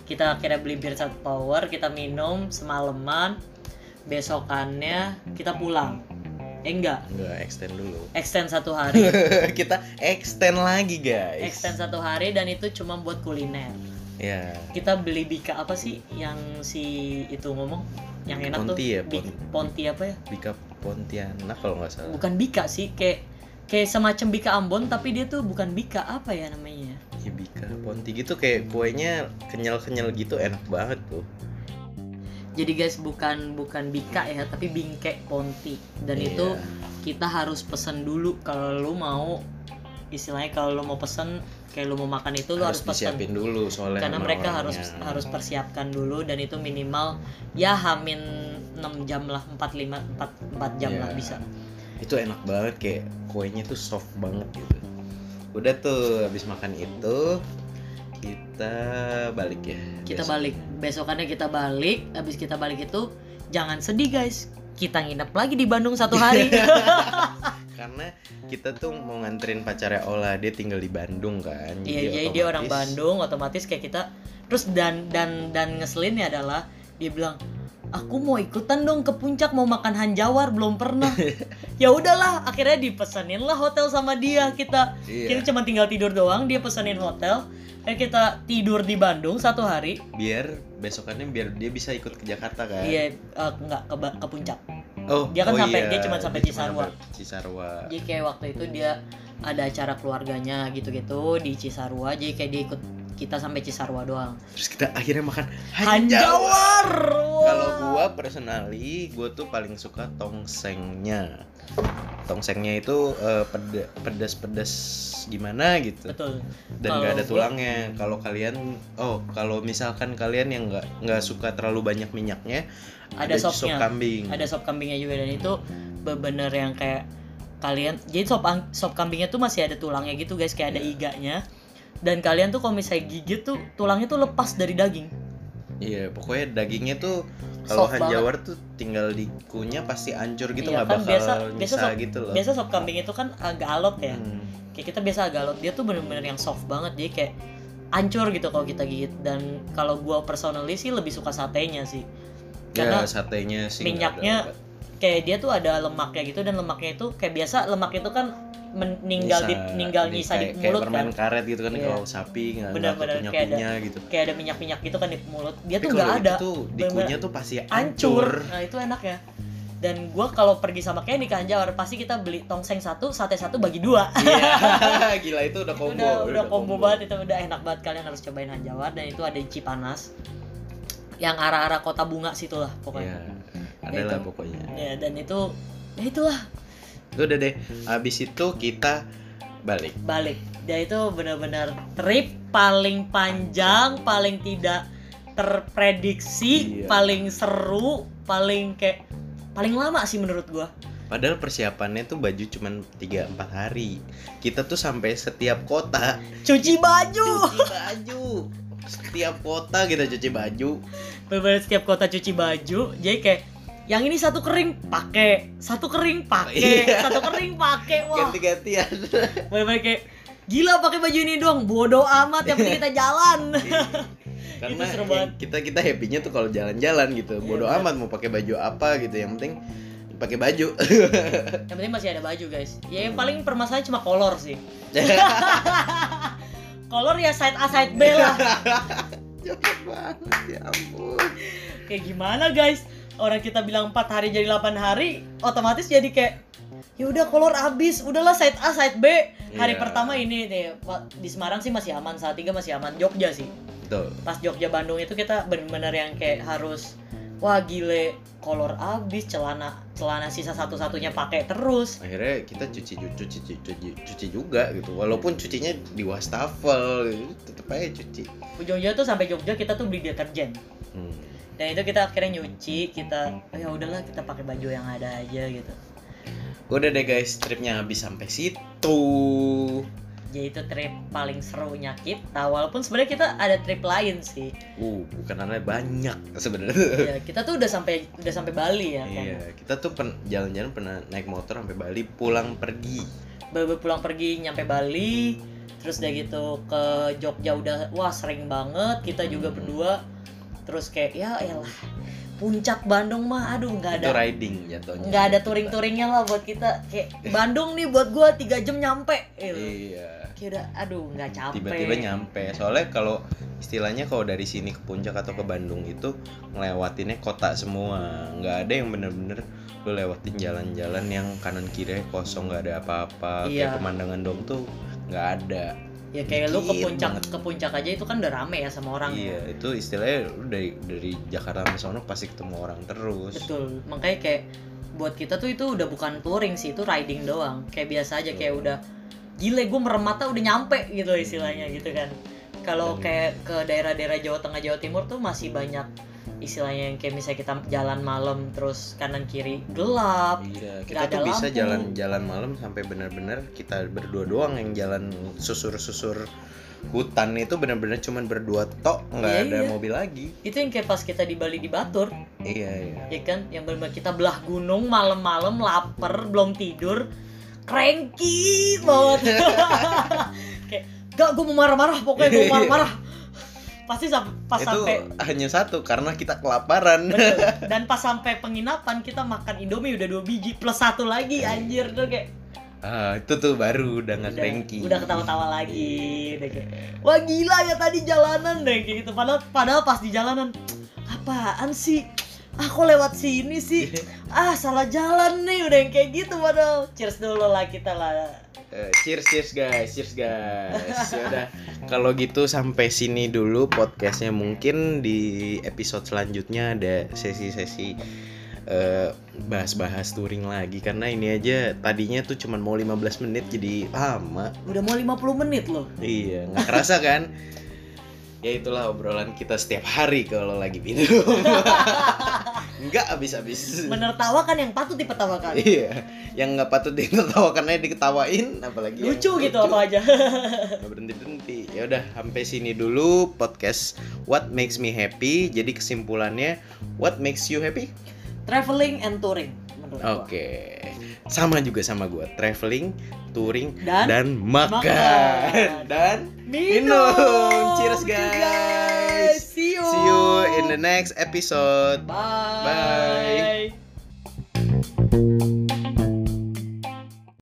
Speaker 2: kita akhirnya beli bir satu tower kita minum semalaman besokannya kita pulang eh enggak
Speaker 1: Enggak, extend dulu.
Speaker 2: extend satu hari
Speaker 1: kita extend lagi, guys.
Speaker 2: extend satu hari dan itu cuma buat kuliner
Speaker 1: Ya.
Speaker 2: kita beli bika apa sih yang si itu ngomong yang enak
Speaker 1: Ponti
Speaker 2: tuh
Speaker 1: ya,
Speaker 2: Bi-
Speaker 1: Ponti.
Speaker 2: ponti apa ya
Speaker 1: Bika Pontianak kalau nggak salah.
Speaker 2: bukan bika sih kayak kayak semacam bika Ambon tapi dia tuh bukan bika apa ya namanya
Speaker 1: Ya, Bika Ponti gitu kayak kuenya kenyal-kenyal gitu enak banget tuh.
Speaker 2: jadi guys bukan bukan bika ya tapi bingke ponti dan
Speaker 1: Iya.
Speaker 2: itu kita harus pesen dulu kalau lu mau istilahnya kalau lu mau pesen kayak lu mau makan itu lu
Speaker 1: harus
Speaker 2: harus, pesen
Speaker 1: disiapin dulu soalnya
Speaker 2: karena
Speaker 1: sama
Speaker 2: mereka harus
Speaker 1: orangnya.
Speaker 2: harus persiapkan dulu dan itu minimal ya hamin 6 jam lah 4 5 4, 4 jam lah
Speaker 1: Iya.
Speaker 2: bisa.
Speaker 1: itu enak banget kayak kuenya tuh soft banget gitu udah tuh habis makan itu kita balik ya
Speaker 2: Kita
Speaker 1: besoknya.
Speaker 2: balik. Besokannya kita balik, habis kita balik itu jangan sedih guys. Kita nginep lagi di Bandung satu hari.
Speaker 1: Iya, karena kita tuh mau nganterin pacarnya Ola dia tinggal di Bandung kan
Speaker 2: Iya, jadi dia orang
Speaker 1: otomatis
Speaker 2: Bandung otomatis kayak kita terus dan dan dan ngeselinnya adalah dia bilang aku mau ikutan dong ke puncak mau makan hanjawar belum pernah ya udahlah akhirnya dipesenin lah hotel sama dia kita
Speaker 1: iya,
Speaker 2: Kita cuma tinggal tidur doang, dia pesenin hotel. Eh kita tidur di Bandung satu hari.
Speaker 1: biar besokannya biar dia bisa ikut ke Jakarta kan
Speaker 2: Iya, eh, nggak ke, Ba- ke puncak.
Speaker 1: oh
Speaker 2: Dia kan
Speaker 1: oh iya,
Speaker 2: sampai- dia cuma sampai Cisarua. Iya.
Speaker 1: sampai Cisarua
Speaker 2: Jadi kayak waktu itu dia ada acara keluarganya gitu-gitu di Cisarua. Jadi kayak dia ikut kita sampai Cisarua doang.
Speaker 1: terus kita akhirnya makan hanjau
Speaker 2: Hanjawar. Wah.
Speaker 1: Kalau gua personally, gua tuh paling suka tongsengnya. Tongsengnya itu eh, peda- pedas-pedas gimana gitu
Speaker 2: betul.
Speaker 1: dan nggak ada
Speaker 2: Kalau gua-
Speaker 1: tulangnya. Kalau kalian oh, kalau misalkan kalian yang nggak nggak suka terlalu banyak minyaknya,
Speaker 2: Ada sopnya.
Speaker 1: sop kambing.
Speaker 2: Ada sop kambingnya juga dan itu bener yang kayak kalian jadi sop ang- sop kambingnya tuh masih ada tulangnya gitu guys kayak ada
Speaker 1: Iya.
Speaker 2: iganya dan kalian tuh kalau misalnya gigit tuh tulangnya tuh lepas dari daging
Speaker 1: Iya, pokoknya dagingnya tuh kalau
Speaker 2: Soft banget.
Speaker 1: hanjawar tuh tinggal dikunyah pasti hancur gitu
Speaker 2: Iya,
Speaker 1: nggak
Speaker 2: kan
Speaker 1: bakal
Speaker 2: biasa- biasa
Speaker 1: nyisa
Speaker 2: sop-
Speaker 1: gitu loh.
Speaker 2: biasa sop kambing itu kan agak alot ya
Speaker 1: Hmm.
Speaker 2: kayak kita biasa agak alot dia tuh bener-bener yang soft banget dia kayak ancur gitu kalau kita gigit dan kalau gua personally sih lebih suka satenya sih
Speaker 1: Ya,
Speaker 2: Karena
Speaker 1: satenya sih nggak ada
Speaker 2: minyaknya
Speaker 1: obat.
Speaker 2: kayak dia tuh ada lemaknya gitu dan lemaknya itu kayak biasa lemak itu kan meninggal di
Speaker 1: Nyisa,
Speaker 2: ninggal
Speaker 1: di-
Speaker 2: nyisa
Speaker 1: kayak-
Speaker 2: di mulut
Speaker 1: kayak
Speaker 2: kan
Speaker 1: permen karet gitu kan
Speaker 2: Iya.
Speaker 1: kalau sapi nggak nggak
Speaker 2: Benar-benar
Speaker 1: punya
Speaker 2: kayak ada.
Speaker 1: kunyah gitu
Speaker 2: kayak ada minyak-minyak gitu kan di mulut dia
Speaker 1: Tapi
Speaker 2: tuh
Speaker 1: kalau
Speaker 2: nggak
Speaker 1: itu
Speaker 2: ada
Speaker 1: tuh dikunyah tuh pasti hancur
Speaker 2: ancur nah itu enak ya dan gua kalau pergi sama Kenny ke Hanjawar pasti kita beli tongseng satu sate satu bagi dua
Speaker 1: iya gila itu udah
Speaker 2: Itu
Speaker 1: combo
Speaker 2: udah udah combo banget itu udah enak banget kalian harus cobain hanjawar dan itu ada di Cipanas yang arah-arah kota bunga situ lah
Speaker 1: Iya,
Speaker 2: pokoknya gitu. Iya,
Speaker 1: ada lah
Speaker 2: Itu.
Speaker 1: pokoknya
Speaker 2: ya dan itu ya itulah
Speaker 1: itu udah deh abis itu kita balik
Speaker 2: balik dia itu benar-benar trip paling panjang paling tidak terprediksi
Speaker 1: Iya.
Speaker 2: paling seru paling kayak paling lama sih menurut gua
Speaker 1: padahal persiapannya tuh baju cuman 3-4 hari kita tuh sampai setiap kota
Speaker 2: cuci baju
Speaker 1: cuci baju setiap kota kita cuci baju
Speaker 2: benar setiap kota cuci baju jadi kayak yang ini satu kering pakai satu kering pakai
Speaker 1: Iya.
Speaker 2: satu kering pakai wah
Speaker 1: ganti-gantian
Speaker 2: benar kayak gila pakai baju ini doang bodoh amat yang penting kita jalan
Speaker 1: karena
Speaker 2: seru banget.
Speaker 1: kita kita happy-nya tuh kalau jalan-jalan gitu
Speaker 2: Iya,
Speaker 1: bodoh
Speaker 2: bener.
Speaker 1: amat mau pakai baju apa gitu yang penting pakai baju
Speaker 2: yang penting masih ada baju guys ya yang paling permasalahan cuma kolor sih kolor ya side A side B lah
Speaker 1: Jorok banget ya ampun
Speaker 2: kayak gimana guys orang kita bilang 4 hari jadi 8 hari otomatis jadi kayak ya udah kolor habis udahlah side A side B hari
Speaker 1: Iya.
Speaker 2: pertama ini nih Wa- di Semarang sih masih aman saat tiga masih aman Jogja sih
Speaker 1: Betul.
Speaker 2: pas Jogja Bandung itu kita bener-bener yang kayak harus wah gile kolor habis celana celana sisa satu-satunya pakai terus
Speaker 1: akhirnya kita cuci ju- cuci cuci cuci, cuci juga gitu walaupun cucinya di wastafel gitu, tetep aja cuci
Speaker 2: ujung-ujungnya tuh sampai Jogja kita tuh beli deterjen
Speaker 1: hmm.
Speaker 2: dan itu kita akhirnya nyuci kita "Oh ya udahlah kita pakai baju yang ada aja gitu
Speaker 1: udah deh guys tripnya habis sampai situ
Speaker 2: jadi itu trip paling serunya kita walaupun sebenarnya kita ada trip lain sih
Speaker 1: uh bukanannya banyak sebenarnya
Speaker 2: ya kita tuh udah sampai udah sampai Bali ya kan
Speaker 1: Iya, kita tuh pen- jalan-jalan pernah naik motor sampai Bali, pulang pergi.
Speaker 2: baru pulang pergi nyampe Bali terus udah gitu ke Jogja udah wah sering banget kita juga berdua terus kayak ya elah puncak Bandung mah aduh nggak
Speaker 1: Itu
Speaker 2: ada
Speaker 1: riding jatuhnya.
Speaker 2: nggak ada touring-touringnya lah buat kita kayak Bandung nih buat gua tiga jam nyampe gitu.
Speaker 1: Iya.
Speaker 2: kayak udah aduh nggak capek
Speaker 1: Tiba-tiba nyampe. Soalnya kalau istilahnya kalau dari sini ke puncak atau ke Bandung itu ngelewatinnya kota semua. Nggak ada yang bener-bener lu lewatin jalan-jalan yang kanan kiri kosong nggak ada apa-apa. Kayak
Speaker 2: Iya.
Speaker 1: pemandangan dong tuh nggak ada.
Speaker 2: ya kayak lu ke
Speaker 1: Dikit
Speaker 2: puncak
Speaker 1: banget.
Speaker 2: ke puncak aja itu kan udah rame ya sama orang
Speaker 1: Iya, itu istilahnya lu dari dari Jakarta ke sono pasti ketemu orang terus.
Speaker 2: Betul, makanya kayak buat kita tuh itu udah bukan touring sih, itu riding doang. Kayak biasa aja kayak udah gile gue merem mata udah nyampe gitu
Speaker 1: Hmm.
Speaker 2: istilahnya gitu kan. Kalau
Speaker 1: Dan-
Speaker 2: kayak ke daerah-daerah Jawa Tengah, Jawa Timur tuh masih banyak istilahnya yang kayak misalnya kita jalan malam terus kanan kiri gelap.
Speaker 1: Iya,
Speaker 2: Nggak
Speaker 1: kita
Speaker 2: ada
Speaker 1: tuh bisa
Speaker 2: lampu.
Speaker 1: jalan-jalan malam sampai benar-benar kita berdua doang yang jalan susur-susur hutan itu benar-benar cuman berdua tok, nggak
Speaker 2: Iya,
Speaker 1: ada
Speaker 2: iya.
Speaker 1: mobil lagi.
Speaker 2: Itu yang kayak pas kita di Bali di Batur,
Speaker 1: Iya, iya.
Speaker 2: ya kan? Yang benar kita belah gunung malam-malam lapar, belum tidur, cranky banget. kayak gak gue mau marah-marah pokoknya gue mau marah-marah pasti sam- pas
Speaker 1: itu
Speaker 2: sampai
Speaker 1: hanya satu karena kita kelaparan.
Speaker 2: betul. dan pas sampai penginapan kita makan indomie udah dua biji plus satu lagi anjir tuh kayak
Speaker 1: Ah, itu tuh baru udah nggak
Speaker 2: udah,
Speaker 1: cranky. Iya.
Speaker 2: udah ketawa-tawa lagi udah kayak wah gila ya tadi jalanan deh kayak gitu padahal padahal pas di jalanan apaan sih ah kok lewat sini sih ah salah jalan nih udah yang kayak gitu padahal cheers dulu lah kita lah
Speaker 1: Eh, cheers, cheers guys, cheers guys. Ya udah, kalau gitu sampai sini dulu podcastnya. Mungkin di episode selanjutnya ada sesi-sesi eh, bahas-bahas touring lagi karena ini aja tadinya tuh cuman mau 15 menit jadi lama.
Speaker 2: udah mau 50 menit loh
Speaker 1: Iya, nggak kerasa kan? Ya itulah obrolan kita setiap hari kalau lagi minum. Nggak habis-habis.
Speaker 2: menertawakan kan yang patut dipertawakan
Speaker 1: Iya, yang nggak patut ditertawakan aja diketawain, apalagi yang
Speaker 2: lucu gitu apa aja
Speaker 1: nggak berhenti berhenti ya udah sampai sini dulu podcast what makes me happy jadi kesimpulannya what makes you happy
Speaker 2: traveling and touring menurut gua.
Speaker 1: oke sama juga sama gua traveling touring
Speaker 2: dan,
Speaker 1: dan makan,
Speaker 2: makan.
Speaker 1: dan minum. Cheers, guys.
Speaker 2: See you.
Speaker 1: see you in the next episode
Speaker 2: Bye.
Speaker 1: Bye.